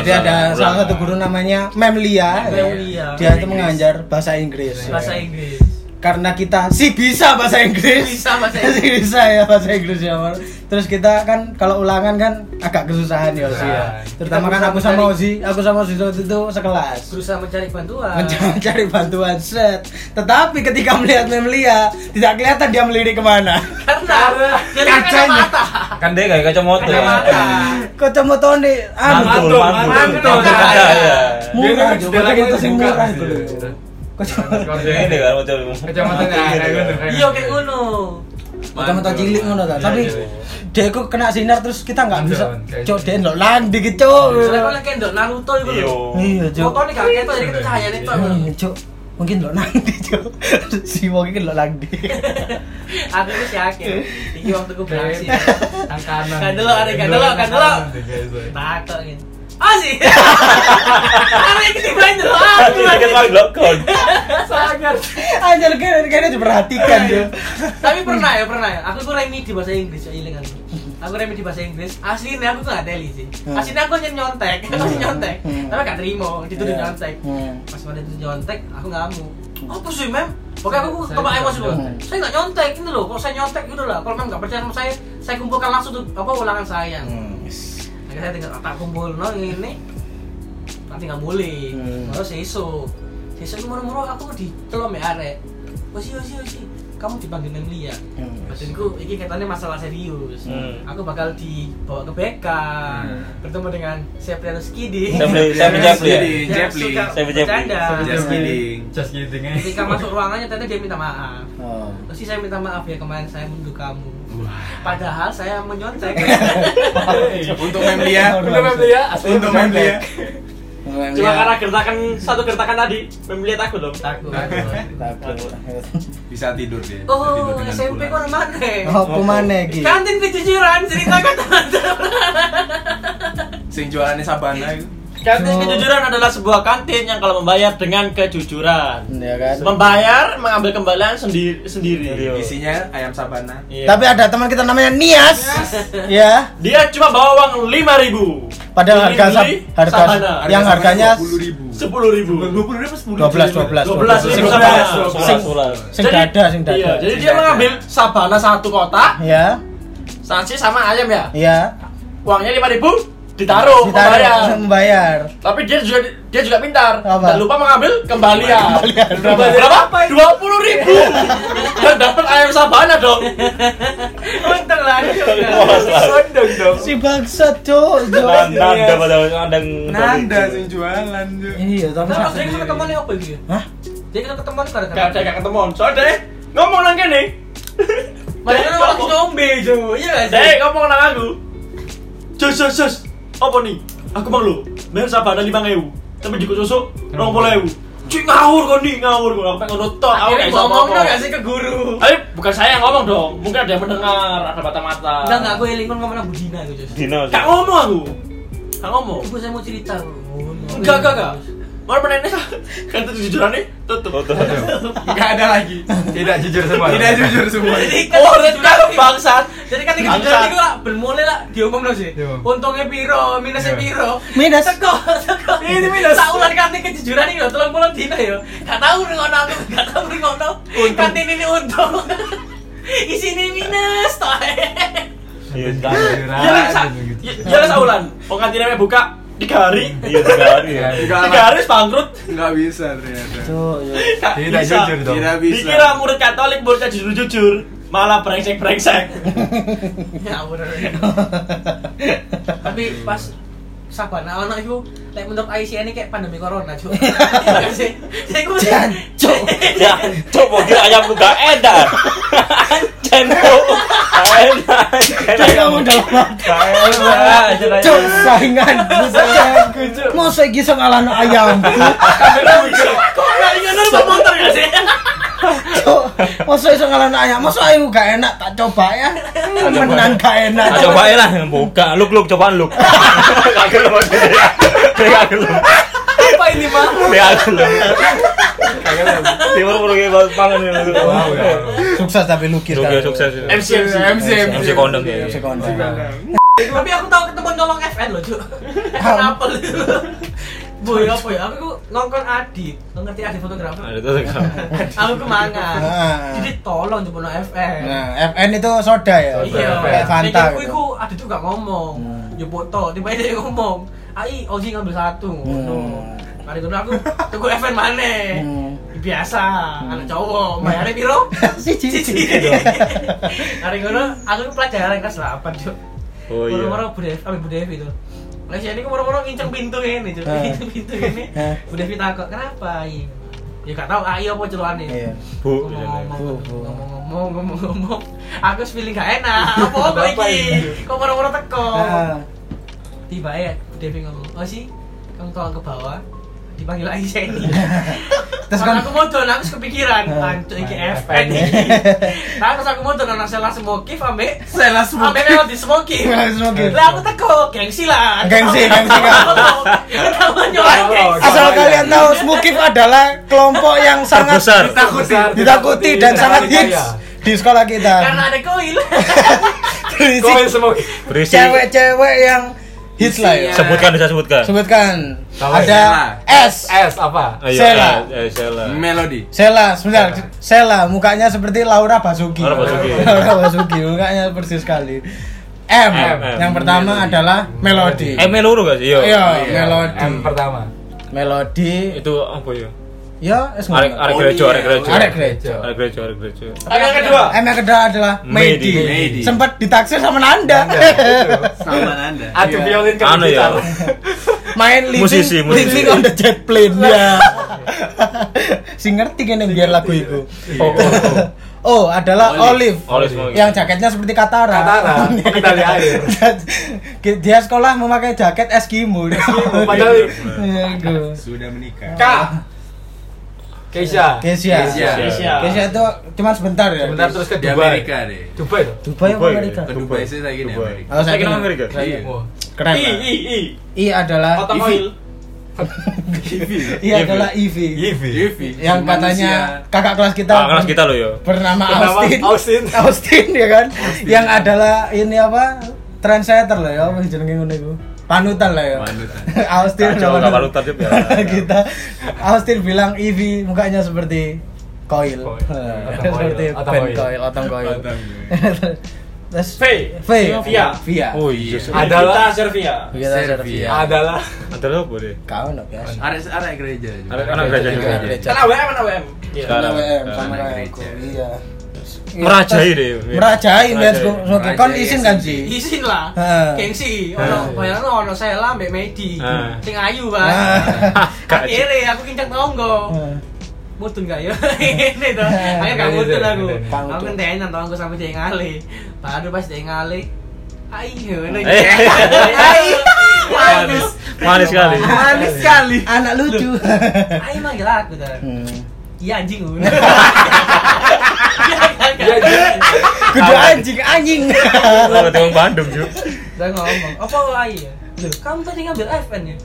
[SPEAKER 4] Jadi ada salah satu guru namanya Mem Lia.
[SPEAKER 3] Mem Lia.
[SPEAKER 4] Dia itu mengajar bahasa Inggris.
[SPEAKER 3] Bahasa Inggris.
[SPEAKER 4] Karena kita sih bisa bahasa Inggris.
[SPEAKER 3] Bisa bahasa
[SPEAKER 4] Sih bisa ya bahasa Inggris ya, Mar. Terus kita kan kalau ulangan kan agak kesusahan ya Ozi ya. Terutama kan aku sama Ozi, aku sama Ozi waktu itu sekelas.
[SPEAKER 3] Berusaha mencari bantuan.
[SPEAKER 4] Mencari bantuan set. Tetapi ketika melihat Mem Lia, tidak kelihatan dia melirik kemana.
[SPEAKER 3] Karena dia kan kacamata.
[SPEAKER 6] Kan dia kayak kacamata.
[SPEAKER 3] Kacamata.
[SPEAKER 4] Kacamata nih,
[SPEAKER 6] Mantul, mantul. Iya,
[SPEAKER 4] anu.
[SPEAKER 7] mantul.
[SPEAKER 6] Cahaya.
[SPEAKER 4] Murah,
[SPEAKER 7] Dia kan
[SPEAKER 4] juga
[SPEAKER 7] lagi
[SPEAKER 4] kacamata sing
[SPEAKER 7] dibuka.
[SPEAKER 4] murah itu loh. Kacamata
[SPEAKER 6] Ini kan macam
[SPEAKER 7] Kacamata
[SPEAKER 5] ya,
[SPEAKER 7] nggak ada gitu.
[SPEAKER 4] kan?
[SPEAKER 3] Iya kayak ngono.
[SPEAKER 4] kacamata cilik ngono ta. Tapi dia iku kena sinar terus kita nggak bisa.
[SPEAKER 7] Kayak
[SPEAKER 4] Cok dia ndok lang dikit cok.
[SPEAKER 3] Soalnya kan kayak Naruto itu
[SPEAKER 6] Iyo.
[SPEAKER 3] loh.
[SPEAKER 4] Iya cok.
[SPEAKER 3] Foto Oh. nih kaget tuh jadi itu cahayanya itu.
[SPEAKER 4] Hmm, Cok. mungkin lo nang di Cuk. si wong iki lo nang di
[SPEAKER 3] Aku itu si Akil. Iki waktu
[SPEAKER 4] Iya.
[SPEAKER 3] ku beraksi.
[SPEAKER 7] Nang kanan.
[SPEAKER 3] Kan dulu, Ari, kan dulu, kan dulu. Tak kok ini. Oh sih. Karena ini tiba dulu aku.
[SPEAKER 6] Tadi sakit banget loh kon.
[SPEAKER 3] Sangat.
[SPEAKER 4] anjir kayaknya kayaknya diperhatikan yo
[SPEAKER 3] Tapi pernah ya, pernah ya. Aku tuh remi di bahasa Inggris, ya ilang aku. Aku remi di bahasa Inggris. Aslinya aku tuh nggak teli sih.
[SPEAKER 4] Hmm.
[SPEAKER 3] Aslinya aku hanya nyontek, aku hanya nyontek.
[SPEAKER 4] Hmm.
[SPEAKER 3] Tapi gak terima, dituduh
[SPEAKER 4] Iya.
[SPEAKER 3] nyontek.
[SPEAKER 4] Hmm.
[SPEAKER 3] Pas pada itu nyontek, aku ngamuk. Apa sih, Mem? Pokoknya aku
[SPEAKER 7] Hmm. Saya
[SPEAKER 3] kebak
[SPEAKER 7] tidak
[SPEAKER 3] emosi loh.
[SPEAKER 7] nyontek.
[SPEAKER 3] Saya nggak nyontek ini loh. Kalau saya nyontek gitu lah. Kalau Mem nggak percaya sama saya, saya kumpulkan langsung tuh apa ulangan saya.
[SPEAKER 7] Hmm.
[SPEAKER 3] Akhirnya saya tinggal tak kumpul no ini. Nanti nggak boleh.
[SPEAKER 4] Hmm.
[SPEAKER 3] Terus sesuk. Sesuk muru-muru aku ditelom ya arek. Wasi wasi wasi. Kamu dipanggil Mem Lia.
[SPEAKER 4] Hmm.
[SPEAKER 3] Badanku ini katanya masalah serius.
[SPEAKER 6] Hmm.
[SPEAKER 3] Aku bakal dibawa ke BK.
[SPEAKER 7] Hmm.
[SPEAKER 3] Bertemu dengan Septiano Skidi.
[SPEAKER 6] Saya beli- saya beli Jeffrey ya?
[SPEAKER 3] Yang
[SPEAKER 5] Jeffrey.
[SPEAKER 3] suka
[SPEAKER 6] Saya beli Jeffrey.
[SPEAKER 3] bercanda.
[SPEAKER 5] Just kidding.
[SPEAKER 7] Just kidding eh.
[SPEAKER 3] Ketika masuk ruangannya ternyata dia minta maaf.
[SPEAKER 4] Oh.
[SPEAKER 3] Terus saya minta maaf ya kemarin saya menuduh kamu. Padahal saya menyontek.
[SPEAKER 5] Untuk Memlia.
[SPEAKER 4] Untuk Memlia,
[SPEAKER 5] Untuk Memlia.
[SPEAKER 8] Cuma
[SPEAKER 7] Iya.
[SPEAKER 8] karena gertakan satu gertakan tadi memilih aku dong.
[SPEAKER 3] Takut.
[SPEAKER 4] Takut.
[SPEAKER 5] Bisa tidur dia. Bisa tidur
[SPEAKER 3] Oh,
[SPEAKER 5] dengan
[SPEAKER 3] SMP
[SPEAKER 5] pulang.
[SPEAKER 3] kok mana?
[SPEAKER 4] Oh, kemana iki?
[SPEAKER 3] Kantin kejujuran ceritakan teman-teman.
[SPEAKER 5] Sing jualannya Sabana itu.
[SPEAKER 8] Kantin
[SPEAKER 4] So-
[SPEAKER 8] kejujuran adalah sebuah kantin yang kalau membayar dengan kejujuran.
[SPEAKER 4] Ya kan.
[SPEAKER 8] Membayar mengambil kembalian
[SPEAKER 6] Iya.
[SPEAKER 8] sendiri sendiri. oh.
[SPEAKER 5] Isinya ayam Sabana.
[SPEAKER 8] Iya.
[SPEAKER 4] Tapi ada teman kita namanya Nias. Ya,
[SPEAKER 8] dia cuma bawa uang lima ribu.
[SPEAKER 4] padahal harga sab- harga yang harganya
[SPEAKER 5] puluh ribu.
[SPEAKER 8] sepuluh ribu.
[SPEAKER 7] puluh ribu sepuluh.
[SPEAKER 4] 12 12
[SPEAKER 8] 12,
[SPEAKER 4] Sing
[SPEAKER 8] 12.
[SPEAKER 6] Sulah sulah.
[SPEAKER 4] sing dada sing dada.
[SPEAKER 8] Iya, jadi dia mengambil sabana satu kotak,
[SPEAKER 4] Ya,
[SPEAKER 8] sanksi sama ayam ya.
[SPEAKER 4] ya.
[SPEAKER 8] Uangnya lima ribu
[SPEAKER 4] Ditarik,
[SPEAKER 8] ditaruh, membayar.
[SPEAKER 4] langsung membayar.
[SPEAKER 8] Tapi dia juga dia juga pintar.
[SPEAKER 4] Apa?
[SPEAKER 8] Dan lupa mengambil kembalian.
[SPEAKER 4] Kembalian.
[SPEAKER 8] Berapa? Dua puluh ribu. Dan dapat ayam sabana dong.
[SPEAKER 3] Untung lah.
[SPEAKER 6] Wah, sulah.
[SPEAKER 4] Si bangsat, Cuk. Cuk.
[SPEAKER 6] Nandang dapat dapat nandang.
[SPEAKER 5] Nanda sing jualan. Cuk.
[SPEAKER 4] Iya, tapi
[SPEAKER 3] Terus
[SPEAKER 4] sak-
[SPEAKER 3] sering sama temannya apa gitu?
[SPEAKER 4] Hah?
[SPEAKER 3] Jadi kita ketemuan karena
[SPEAKER 8] Gak ada gak ketemu. Soalnya deh ngomong nang kene.
[SPEAKER 3] Mereka kan waktu nyombe Jo. Iya gak sih?
[SPEAKER 8] Dek, ngomong nang aku. Jos jos jos. Apa nih? Aku mang lho. Bayar sabana 5000. Tapi dikususuk 20000. Cuy ngawur kok nih, ngawur kok. Aku pengen ngono tok. Aku
[SPEAKER 3] Akhirnya
[SPEAKER 8] gak iso
[SPEAKER 3] Iya, ngomong
[SPEAKER 8] apa-apa.
[SPEAKER 3] dong gak sih ke guru?
[SPEAKER 8] Tapi bukan saya yang ngomong dong. Mungkin ada yang mendengar, ada mata-mata.
[SPEAKER 3] Enggak, enggak, aku elingan ngomong sama Budina gitu Jos.
[SPEAKER 6] Dino.
[SPEAKER 8] Gak ngomong aku. Gak ngomong.
[SPEAKER 3] Ibu saya mau cerita. Oh,
[SPEAKER 8] Enggak, enggak, enggak. Mana penennya? Kan itu jujuran nih, tutup.
[SPEAKER 6] Tutup.
[SPEAKER 5] Enggak ada lagi.
[SPEAKER 7] Tidak jujur semua.
[SPEAKER 5] Tidak jujur semua.
[SPEAKER 3] Jadi kan
[SPEAKER 8] Oh,
[SPEAKER 3] kejujuran
[SPEAKER 8] tetap
[SPEAKER 3] itu-
[SPEAKER 8] bangsat.
[SPEAKER 3] Jadi kan tiga
[SPEAKER 8] Bangsat.
[SPEAKER 3] juta itu lah bermulai lah diomong loh sih.
[SPEAKER 7] Iya.
[SPEAKER 3] Untungnya piro, minusnya
[SPEAKER 7] Iya.
[SPEAKER 3] piro.
[SPEAKER 4] Minus.
[SPEAKER 3] Teko, teko. Ini minus. Saulan kantin kejujuran ini loh, tolong pulang dina yo. Gak tahu ngono aku, gak tahu ngono. Kantin ini untung. Isi ini minus toh.
[SPEAKER 6] Iya,
[SPEAKER 7] Tidak
[SPEAKER 6] kan.
[SPEAKER 7] jujur.
[SPEAKER 8] Ya lah, Sa- ya ya lah saulan. Pengantinnya buka tiga hari.
[SPEAKER 6] Iya, tiga hari ya.
[SPEAKER 5] Enggak
[SPEAKER 8] Tiga
[SPEAKER 5] lah.
[SPEAKER 8] hari bangkrut.
[SPEAKER 5] Enggak bisa ternyata.
[SPEAKER 4] Cuk, ya.
[SPEAKER 8] Gak
[SPEAKER 7] Tidak
[SPEAKER 8] bisa.
[SPEAKER 7] jujur dong.
[SPEAKER 5] Tidak bisa.
[SPEAKER 8] Dikira murid Katolik muridnya jujur-jujur, malah brengsek-brengsek.
[SPEAKER 3] Ya bener. Tapi pas Sabana ono iku lek menurut ICN ini kayak pandemi corona, Cuk. Iya gak sih? Jadi aku
[SPEAKER 6] Jancuk. Jancuk Ya, mau kira ayam lu gak edan. Ancen lu. Gak edan.
[SPEAKER 4] Cuk, kamu dalam hati.
[SPEAKER 6] Ah,
[SPEAKER 4] Cuk, saingan. Mau saya gisang alano ayam.
[SPEAKER 8] Kok gak ingat lu mau motor
[SPEAKER 3] ya
[SPEAKER 8] gak sih?
[SPEAKER 4] Cuk, masa iso ngalahno ayam? Masa ayu gak enak tak coba ya. Menang gak enak.
[SPEAKER 6] Nah, coba lah buka luk luk cobaan luk. Gak gelem aja. Gak gelem.
[SPEAKER 3] apa ini, Mas?
[SPEAKER 6] Gak gelem. Timur perlu kayak banget pangan ya.
[SPEAKER 7] Wow ya.
[SPEAKER 4] Sukses tapi lukis.
[SPEAKER 6] Sukses
[SPEAKER 4] kan. Iya,
[SPEAKER 6] sukses. ya.
[SPEAKER 8] MC MC.
[SPEAKER 5] MC
[SPEAKER 6] MC kondom ya.
[SPEAKER 4] Sukses kondom.
[SPEAKER 3] Tapi aku tahu ketemu ngomong FN loh, Cuk. Kenapa lu? Boy, apa ya? Aku nongkon Adit, Lu ngerti Adit fotografer.
[SPEAKER 6] Ada tuh kan.
[SPEAKER 3] Aku kemangan.
[SPEAKER 4] Nah.
[SPEAKER 3] Jadi tolong jebol FN.
[SPEAKER 4] Nah, FN itu soda ya. Kayak Fanta. gitu.
[SPEAKER 3] Jadi aku Iya. Nah, iku Adit tuh gak ngomong.
[SPEAKER 4] Hmm.
[SPEAKER 3] Yo foto, tiba-tiba dia ngomong. Ai, Oji ngambil satu. Ngono. Mari ngono aku tunggu FN maneh.
[SPEAKER 4] Hmm.
[SPEAKER 3] Biasa, anak cowok, bayarnya piro?
[SPEAKER 4] Siji.
[SPEAKER 3] Iya. Hari ngono aku pelajaran kelas 8, Cuk.
[SPEAKER 6] Oh iya.
[SPEAKER 3] Moro-moro Bu Devi, apa Bu Devi itu. Lah si ini ku moro-moro nginceng pintu ini, Cuk.
[SPEAKER 4] Ah.
[SPEAKER 3] Nginceng pintu ini.
[SPEAKER 4] Ah.
[SPEAKER 3] Bu Devi takut, "Kenapa?" Iya. Ya gak tahu AI apa celuane.
[SPEAKER 4] Iya.
[SPEAKER 6] Bu.
[SPEAKER 4] Bu, Bu.
[SPEAKER 3] Ngomong-ngomong, ngomong-ngomong. Aku feeling gak enak. Apa apa iki? Kok moro-moro teko?
[SPEAKER 4] Ah,
[SPEAKER 3] Tiba ya Bu Devi ngomong, "Oh sih, kamu tolong ke bawah." dipanggil Aisyah ini
[SPEAKER 4] Terus
[SPEAKER 3] terus
[SPEAKER 4] kan- Eh.
[SPEAKER 3] aku mau dolan aku wis kepikiran anjuk iki FN iki Nah, terus aku mau dolan nang sela smoky ambek
[SPEAKER 5] Sela smoky.
[SPEAKER 3] ambek melodi smoky
[SPEAKER 4] Melodi smoky.
[SPEAKER 3] lah aku teko gengsi lah
[SPEAKER 4] Gengsi, gengsi, Kak.
[SPEAKER 3] kamu nyolong gengsi
[SPEAKER 4] Asal kalian tahu Smukif adalah kelompok yang sangat
[SPEAKER 6] Terbesar.
[SPEAKER 7] Takuti,
[SPEAKER 4] ditakuti
[SPEAKER 8] Iya.
[SPEAKER 4] dan sangat hits di sekolah kita.
[SPEAKER 3] karena ada koil
[SPEAKER 4] Berisi
[SPEAKER 7] Koin semoga
[SPEAKER 6] Berisi
[SPEAKER 4] cewek-cewek yang hits lah ya.
[SPEAKER 6] sebutkan bisa sebutkan.
[SPEAKER 4] Sebutkan.
[SPEAKER 7] Tahu
[SPEAKER 4] Ada S.
[SPEAKER 7] S apa?
[SPEAKER 6] Ayo,
[SPEAKER 4] Sela.
[SPEAKER 6] eh, eh, Sela.
[SPEAKER 5] Melody.
[SPEAKER 4] Sela, sebentar. Sela mukanya seperti Laura Basuki.
[SPEAKER 6] Laura Basuki.
[SPEAKER 4] Laura Basuki, mukanya persis sekali. M,
[SPEAKER 6] M.
[SPEAKER 4] yang pertama adalah melodi.
[SPEAKER 6] Eh meluru gak sih? Yo.
[SPEAKER 4] Iya, melodi.
[SPEAKER 7] M pertama.
[SPEAKER 4] melodi.
[SPEAKER 6] Itu apa ya?
[SPEAKER 4] Ya, es
[SPEAKER 6] Arek arek
[SPEAKER 4] ngomong.
[SPEAKER 3] Oh, iya.
[SPEAKER 6] gerejo, arek gerejo.
[SPEAKER 4] Arek gerejo.
[SPEAKER 6] Arek gerejo, arek gerejo.
[SPEAKER 2] Tapi yang kedua,
[SPEAKER 4] M yang kedua adalah
[SPEAKER 6] Medi.
[SPEAKER 4] Medi.
[SPEAKER 5] Medi.
[SPEAKER 4] Sempat ditaksir sama Nanda.
[SPEAKER 7] Nanda, betul.
[SPEAKER 5] Sama Nanda.
[SPEAKER 7] Aduh
[SPEAKER 4] Iya.
[SPEAKER 7] violin kan
[SPEAKER 6] Anu ya.
[SPEAKER 4] Main living,
[SPEAKER 6] Musisi, musisi.
[SPEAKER 4] living on the jet plane ya. Sing ngerti kene biar lagu itu.
[SPEAKER 6] Oh, oh,
[SPEAKER 4] Oh, adalah Olive.
[SPEAKER 6] Olive semua.
[SPEAKER 4] yang jaketnya seperti Katara.
[SPEAKER 7] Katara, pengendali air.
[SPEAKER 4] Dia sekolah memakai jaket Eskimo.
[SPEAKER 7] Padahal
[SPEAKER 4] Iya, gitu.
[SPEAKER 5] Sudah menikah.
[SPEAKER 7] K. Keisha.
[SPEAKER 4] Kesia.
[SPEAKER 5] Kesia.
[SPEAKER 2] Kesia.
[SPEAKER 4] Kesia itu cuma sebentar ya.
[SPEAKER 7] Sebentar terus ke
[SPEAKER 5] Iya. Di
[SPEAKER 7] Dubai.
[SPEAKER 5] Amerika deh.
[SPEAKER 7] Dubai loh.
[SPEAKER 4] Dubai apa
[SPEAKER 6] Dubai.
[SPEAKER 4] Amerika?
[SPEAKER 5] Ke Dubai sih lagi di
[SPEAKER 6] Dubai.
[SPEAKER 5] Amerika.
[SPEAKER 4] Oh,
[SPEAKER 6] Saya kira
[SPEAKER 4] kira-
[SPEAKER 6] Amerika.
[SPEAKER 5] Iya.
[SPEAKER 7] Wah.
[SPEAKER 4] Keren.
[SPEAKER 2] I,
[SPEAKER 4] lah.
[SPEAKER 2] I, I.
[SPEAKER 4] I adalah
[SPEAKER 2] Otomoil.
[SPEAKER 4] I adalah Ivy.
[SPEAKER 5] Yivi.
[SPEAKER 4] Yang katanya kakak kelas kita.
[SPEAKER 6] Ah, kelas kita loh yo.
[SPEAKER 4] Bernama
[SPEAKER 7] Bernama
[SPEAKER 4] Austin.
[SPEAKER 7] Austin.
[SPEAKER 4] Austin ya kan. Yang adalah ini apa? Trendsetter lah ya, apa sih jenenge ngono iku? Panutan lah ya.
[SPEAKER 5] Panutan.
[SPEAKER 4] Austin
[SPEAKER 6] Kacau,
[SPEAKER 4] sama-
[SPEAKER 6] nggak panutan dia biar-
[SPEAKER 4] Kita Austin bilang Ivy mukanya seperti koil.
[SPEAKER 7] Koil.
[SPEAKER 4] Eh,
[SPEAKER 7] Otong koil,
[SPEAKER 4] Seperti
[SPEAKER 7] otong
[SPEAKER 4] band
[SPEAKER 7] koil.
[SPEAKER 4] koil, otong koil.
[SPEAKER 5] Otong
[SPEAKER 4] Terus
[SPEAKER 2] V.
[SPEAKER 4] V.
[SPEAKER 2] Via.
[SPEAKER 4] Via.
[SPEAKER 6] Oh iya.
[SPEAKER 2] Kita
[SPEAKER 7] Adalah
[SPEAKER 2] Servia.
[SPEAKER 4] Kita
[SPEAKER 5] Servia.
[SPEAKER 4] Servia.
[SPEAKER 7] adalah
[SPEAKER 6] Ada apa deh?
[SPEAKER 4] Kau no, guys.
[SPEAKER 5] Arek arek gereja. juga.
[SPEAKER 6] Arek- anak gereja juga.
[SPEAKER 4] Gereja.
[SPEAKER 2] Kan AWM, kan AWM. Iya.
[SPEAKER 6] Sekarang. Nah.
[SPEAKER 4] WM sama
[SPEAKER 5] Anak
[SPEAKER 4] kayak aku.
[SPEAKER 5] gereja.
[SPEAKER 4] Iya.
[SPEAKER 6] Merajai deh.
[SPEAKER 4] Merajai let's go.
[SPEAKER 6] Merajai.
[SPEAKER 4] Oke, kon izin kan sih?
[SPEAKER 3] isin lah
[SPEAKER 4] Heeh.
[SPEAKER 3] gengsi ono bayangno ono Sela mbek Medi
[SPEAKER 6] Heeh.
[SPEAKER 3] sing ayu
[SPEAKER 4] Heeh.
[SPEAKER 3] kan
[SPEAKER 6] Gak-
[SPEAKER 3] akhirnya aku kincang tonggo
[SPEAKER 4] Iya.
[SPEAKER 3] mutun gak ya ini tuh akhirnya gak mutun aku
[SPEAKER 4] Gak
[SPEAKER 3] aku
[SPEAKER 4] mutun.
[SPEAKER 3] ngenteni nang tonggo sampe dia ngale baru pas dia ngale ayo
[SPEAKER 6] Eh. Manis, manis sekali.
[SPEAKER 4] Manis
[SPEAKER 3] sekali
[SPEAKER 4] Anak lucu.
[SPEAKER 3] ayo manggil Ah, aku tuh
[SPEAKER 4] Hmm.
[SPEAKER 3] iya anjing Iya, kan, kan.
[SPEAKER 4] Kudu anjing anjing.
[SPEAKER 6] Kalau tiang Bandung yuk.
[SPEAKER 3] Dia ngomong apa ayo ya Loh, kamu tadi ngambil FN ya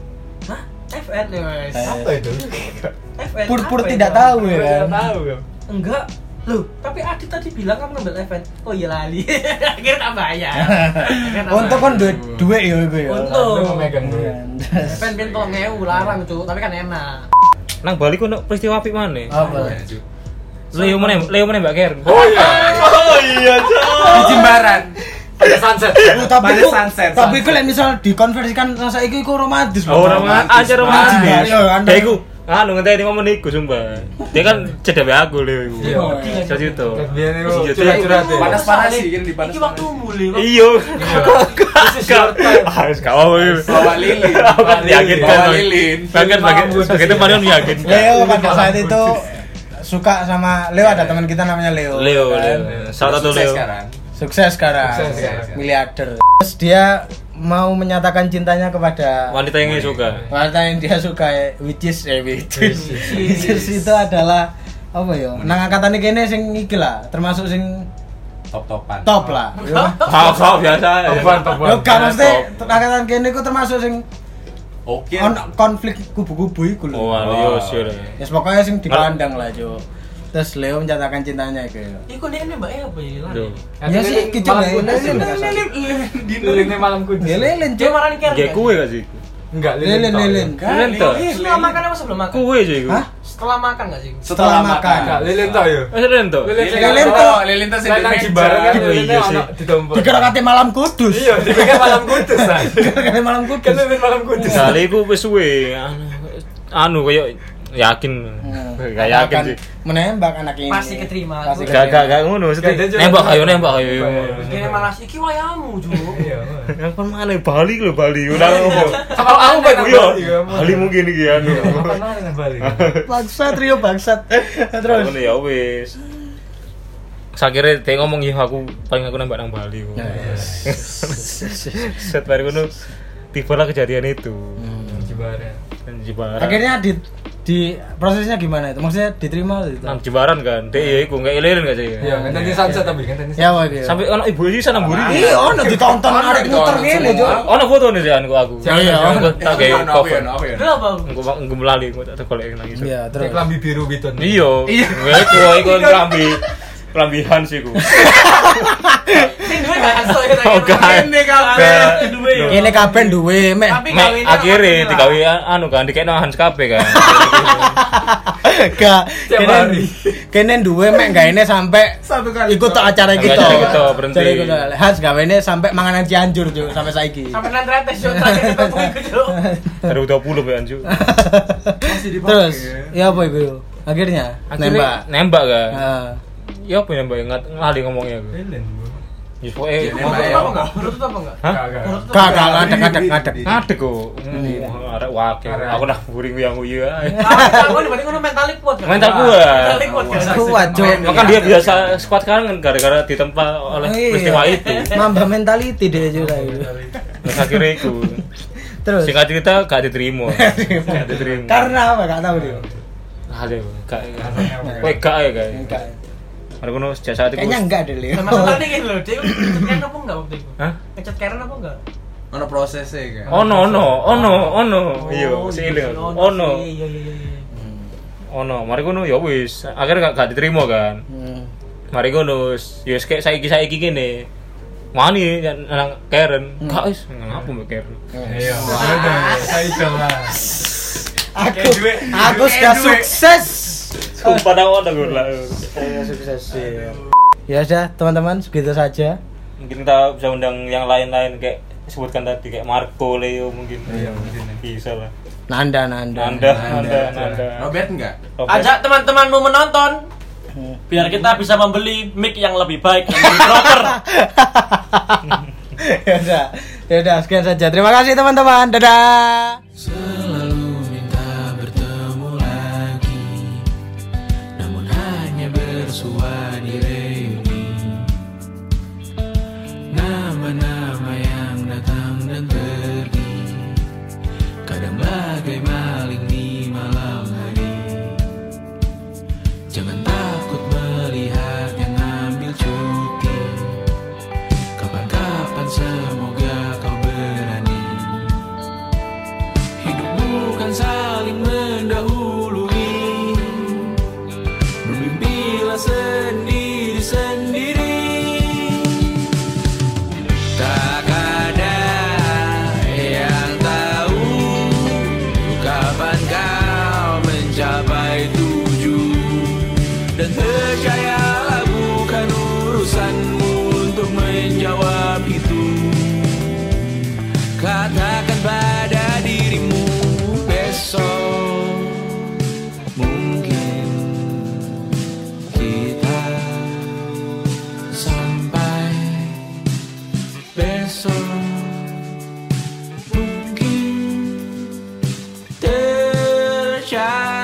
[SPEAKER 3] Hah? FN ya mas
[SPEAKER 7] apa itu?
[SPEAKER 3] FN
[SPEAKER 4] Eh. Pur-pur
[SPEAKER 3] apa ya,
[SPEAKER 4] tidak
[SPEAKER 3] kamu?
[SPEAKER 4] tahu ya
[SPEAKER 7] Tidak
[SPEAKER 4] kan.
[SPEAKER 7] tahu ya.
[SPEAKER 3] Enggak. Loh, tapi Adit tadi bilang kamu ngambil event. Oh iya lali. Akhirnya tak bayar. Akhirnya tak
[SPEAKER 4] Untuk
[SPEAKER 3] bayar.
[SPEAKER 4] kon duit duit ya gue ya.
[SPEAKER 3] Untung.
[SPEAKER 7] Lu memegang dulu.
[SPEAKER 3] event ben tolong ngewu larang tuh, tapi kan enak.
[SPEAKER 6] Nang Bali kok no peristiwa apik mana?
[SPEAKER 4] Apa?
[SPEAKER 6] Leo mana? Leo mana Mbak iya, Ker?
[SPEAKER 7] Oh iya.
[SPEAKER 5] Di Jimbaran.
[SPEAKER 7] Ada sunset.
[SPEAKER 4] Oh, tapi
[SPEAKER 5] Pada
[SPEAKER 4] ku,
[SPEAKER 5] sunset,
[SPEAKER 4] tapi
[SPEAKER 5] sunset.
[SPEAKER 4] ku lek misal dikonversikan rasa iku iku romantis.
[SPEAKER 6] Oh,
[SPEAKER 4] Bang.
[SPEAKER 6] orang aja
[SPEAKER 4] romantis.
[SPEAKER 6] romantis.
[SPEAKER 4] Iya, kan.
[SPEAKER 6] Dia iku anu ngenteni momen iku sumpah. Dia kan cedek be aku Leo iku.
[SPEAKER 7] Iya.
[SPEAKER 6] Jadi itu.
[SPEAKER 7] Terus
[SPEAKER 4] Iya.
[SPEAKER 7] dia nih,
[SPEAKER 6] Terus dia-
[SPEAKER 7] curhat-curhat ya.
[SPEAKER 5] Iya, Panas panas sih kan di panas.
[SPEAKER 3] Iki waktu mulai kok.
[SPEAKER 6] Iya.
[SPEAKER 7] This is your time.
[SPEAKER 6] Ah, wis gak apa-apa. yuk.
[SPEAKER 5] Bawa lilin.
[SPEAKER 6] Aku kan Meyakinkan.
[SPEAKER 5] Bawa
[SPEAKER 6] Bang.
[SPEAKER 5] lilin.
[SPEAKER 6] Bahkan bahkan sebagai teman yang meyakinkan.
[SPEAKER 4] Leo pada
[SPEAKER 6] iya,
[SPEAKER 4] saat itu suka sama Leo ada teman kita namanya Leo.
[SPEAKER 6] Leo,
[SPEAKER 4] kan?
[SPEAKER 6] Leo. Salah satu
[SPEAKER 5] Sukses
[SPEAKER 6] Leo.
[SPEAKER 5] sekarang.
[SPEAKER 4] Sukses sekarang.
[SPEAKER 7] Sukses sekarang.
[SPEAKER 4] Miliarder. Terus dia mau menyatakan cintanya kepada
[SPEAKER 6] Wanita yang dia suka.
[SPEAKER 4] wanita yang dia suka which is eh, which is, which is
[SPEAKER 3] Which is.
[SPEAKER 4] itu adalah apa ya nang angkatane kene sing iki lah termasuk sing
[SPEAKER 5] Top topan.
[SPEAKER 4] top lah yo
[SPEAKER 6] Kau kau biasa. ya.
[SPEAKER 7] Topan, topan.
[SPEAKER 4] yo gak mesti angkatan kene ku termasuk sing
[SPEAKER 5] Oke.
[SPEAKER 4] ono konflik kubu-kubu iku lho
[SPEAKER 6] Oh, Leo sure.
[SPEAKER 4] ya pokoknya sing dipandang lah jo terus Leo menyatakan cintanya iku yo
[SPEAKER 3] Iku nek ini mbak apa ya lali.
[SPEAKER 6] Duh.
[SPEAKER 4] ya sih kicau
[SPEAKER 7] malam kudus.
[SPEAKER 4] ya lilin lah, Sas.
[SPEAKER 7] Lilinnya malam kudus.
[SPEAKER 4] Ya, lilin
[SPEAKER 3] Dia
[SPEAKER 4] jo
[SPEAKER 3] marani keren.
[SPEAKER 6] Kayak kue gak sih?
[SPEAKER 7] Enggak, ya.
[SPEAKER 4] lilin
[SPEAKER 7] tau.
[SPEAKER 4] lilin
[SPEAKER 6] Lilin tuh.
[SPEAKER 3] Iya, Setelah makan apa sebelum makan?
[SPEAKER 6] Kue sih gue.
[SPEAKER 4] Iya, Hah?
[SPEAKER 3] Setelah makan gak sih?
[SPEAKER 4] setelah makan
[SPEAKER 7] Enggak, lilin tau ya.
[SPEAKER 6] Masih rento.
[SPEAKER 4] Lilin
[SPEAKER 7] tau.
[SPEAKER 4] tuh.
[SPEAKER 5] Lilin tuh
[SPEAKER 7] Lain nang Jimbaran
[SPEAKER 4] Oh,
[SPEAKER 7] kan
[SPEAKER 6] Iya,
[SPEAKER 7] lilinnya
[SPEAKER 6] iya sih.
[SPEAKER 7] ono ditompok.
[SPEAKER 4] dikerakati malam kudus
[SPEAKER 7] Iya, dipikir malam kudus Sas.
[SPEAKER 4] dikerakati malam
[SPEAKER 7] Kan
[SPEAKER 4] kudus
[SPEAKER 7] lilin malam kudus.
[SPEAKER 6] Kali gue wis suwe. Anu- Anu kayak yakin. Gak
[SPEAKER 4] Karena
[SPEAKER 6] yakin
[SPEAKER 4] Hmm. akan
[SPEAKER 6] sih.
[SPEAKER 4] Menembak anak ini.
[SPEAKER 3] Pasti keterima.
[SPEAKER 4] Pasti
[SPEAKER 6] Gak gak gak ngono. maksudnya
[SPEAKER 7] Gak, dia juga-
[SPEAKER 6] Nembak ayo nembak ayo.
[SPEAKER 3] Dia malas iki wayamu, Ju.
[SPEAKER 7] Iya.
[SPEAKER 6] Yang kan mana Bali lo Bali. Udah ngomong.
[SPEAKER 7] Kalau aku baik
[SPEAKER 6] Iya. Bali mungkin iki anu.
[SPEAKER 7] Apa nang balik?
[SPEAKER 4] Bangsat Rio bangsat. Terus.
[SPEAKER 6] Ngono ya wis. Sakire dia ngomong ya aku paling aku nembak nang Bali.
[SPEAKER 4] Ya,
[SPEAKER 6] kok." Set baru ngono tibalah kejadian itu.
[SPEAKER 7] Jimbaran.
[SPEAKER 6] Nang Jimbaran.
[SPEAKER 4] Hmm. Akhirnya di di prosesnya gimana itu? Maksudnya diterima atau
[SPEAKER 6] nang
[SPEAKER 4] tidak?
[SPEAKER 6] Jimbaran kan. Dek ya iku enggak ilin enggak sih.
[SPEAKER 7] Iya, ngenteni sunset tapi ngenteni
[SPEAKER 4] Ya wae iki.
[SPEAKER 6] Sampai ono ibu iki sana mburi.
[SPEAKER 4] Iya, ono ditonton
[SPEAKER 5] Ono
[SPEAKER 4] arek muter
[SPEAKER 5] ditonton
[SPEAKER 4] ngene,
[SPEAKER 5] semua.
[SPEAKER 4] Cuk.
[SPEAKER 6] Ono fotone sih aku aku.
[SPEAKER 7] Jangan, jangan.
[SPEAKER 6] aku tak
[SPEAKER 5] Iya,
[SPEAKER 6] kayak
[SPEAKER 5] iya,
[SPEAKER 6] cover.
[SPEAKER 5] iya, iya.
[SPEAKER 3] Dulu apa?
[SPEAKER 6] Engko engko melali engko tak golek nang iso.
[SPEAKER 4] Iya, terus.
[SPEAKER 7] Kayak kelambi biru gitu.
[SPEAKER 6] Iya.
[SPEAKER 7] Iya.
[SPEAKER 6] Gue iku iku kelambi. Kelambihan sih ku.
[SPEAKER 3] Sing duwe gak aso ya.
[SPEAKER 6] Oh, gak.
[SPEAKER 3] Ini kalah.
[SPEAKER 6] Gak.
[SPEAKER 3] Duwe.
[SPEAKER 4] Ini kabeh duwe, mek.
[SPEAKER 3] Tapi
[SPEAKER 6] Mek akhirnya digawe anu kan dikekno Hans kabeh kan.
[SPEAKER 4] Gak.
[SPEAKER 7] Tiap
[SPEAKER 4] Kene
[SPEAKER 7] hari.
[SPEAKER 4] kene duwe mek gaene sampai
[SPEAKER 5] Satu kali.
[SPEAKER 4] ikut tok acara
[SPEAKER 6] Sampai
[SPEAKER 4] gitu.
[SPEAKER 6] acara gitu, berhenti.
[SPEAKER 4] Jadi gitu. Has gawene sampai manganan Cianjur, Cuk, sampai saiki.
[SPEAKER 3] Sampai nang tretes yo terakhir ketemu iku yo.
[SPEAKER 6] Dari 20 ya anju.
[SPEAKER 5] Masih dipakai.
[SPEAKER 4] Terus, ya apa ibu? Akhirnya, Ah.
[SPEAKER 6] Akhirnya
[SPEAKER 4] nembak.
[SPEAKER 6] nembak kan.
[SPEAKER 4] Heeh.
[SPEAKER 6] Ya apa nembak ngat ngali ngomongnya aku.
[SPEAKER 7] Elen.
[SPEAKER 6] Ya pokoke
[SPEAKER 5] Ini
[SPEAKER 3] Mau
[SPEAKER 5] mah ya.
[SPEAKER 3] apa enggak? Menurut apa enggak?
[SPEAKER 6] Hah?
[SPEAKER 7] Kagak.
[SPEAKER 4] Kagak ngadek ngadek ngadek.
[SPEAKER 6] ngadeg kok.
[SPEAKER 4] Iya.
[SPEAKER 6] Hmm, arek wake.
[SPEAKER 7] Arek.
[SPEAKER 6] Aku nak buring yang uyu ya. ae.
[SPEAKER 3] Aku dibanding ngono mentalik kuat. kan?
[SPEAKER 6] Mental kuat.
[SPEAKER 3] Mentalik kuat. kan?
[SPEAKER 4] Kuat, Cuk.
[SPEAKER 6] Makan dia biasa squad sekarang kan gara-gara ditempa oleh
[SPEAKER 4] Iya.
[SPEAKER 6] peristiwa itu.
[SPEAKER 4] Mamba mentality dia juga itu.
[SPEAKER 6] Terus akhirnya itu.
[SPEAKER 4] Terus
[SPEAKER 6] Singkat cerita gak diterima. Gak diterima.
[SPEAKER 4] karena apa? Gak tahu dia.
[SPEAKER 6] ada gak. Kowe gak ya guys.
[SPEAKER 4] Enggak.
[SPEAKER 6] Arek ono sejak saat itu.
[SPEAKER 4] Kayaknya enggak deh, Leo.
[SPEAKER 3] Nah, masalahnya gini loh, dia ngecat keren apa enggak waktu itu?
[SPEAKER 6] Hah?
[SPEAKER 3] Ngecat keren apa enggak?
[SPEAKER 5] Ono prosesnya kan.
[SPEAKER 6] Ono ono ono ono. Iya, sing eling.
[SPEAKER 3] Oh,
[SPEAKER 6] Ono.
[SPEAKER 3] Iya, iya, iya. iya.
[SPEAKER 6] ono mari kono ya wis akhirnya gak, gak diterima kan
[SPEAKER 4] Hmm.
[SPEAKER 6] mari kono wis ya wis kayak saiki saiki gini wani ya, nang Karen gak wis ngapa mbak Karen
[SPEAKER 7] Iya, ada. Saya coba.
[SPEAKER 4] Aku aku sudah sukses.
[SPEAKER 6] sumpah nang ono gue lah
[SPEAKER 4] Saya sukses. iya. Ya sudah, teman-teman, segitu saja.
[SPEAKER 6] mungkin kita bisa undang yang lain-lain kayak sebutkan tadi kayak Marco Leo mungkin
[SPEAKER 7] Iya, mungkin.
[SPEAKER 6] bisa lah
[SPEAKER 4] Nanda, Nanda.
[SPEAKER 6] Nanda Nanda Nanda
[SPEAKER 5] Robert enggak?
[SPEAKER 6] Oke.
[SPEAKER 2] Ajak teman-temanmu menonton biar kita bisa membeli mic yang lebih baik yang lebih proper.
[SPEAKER 4] ya udah. Ya udah, sekian saja. Terima kasih teman-teman. Dadah.
[SPEAKER 9] Selalu minta bertemu lagi Namun hanya bersua di reuni Nama-nama yang datang dan pergi Kadang bagai maling di malam hari Jangan takut melihat yang ambil cuti Kapan-kapan semoga kau berani Hidup bukan saling mendahului Bermimpilah sendiri-sendiri Tak ada yang tahu Kapan kau mencapai tujuh dan percayalah bukan urusanmu untuk menjawab itu Katakan pada dirimu besok Mungkin kita sampai besok Mungkin tercapai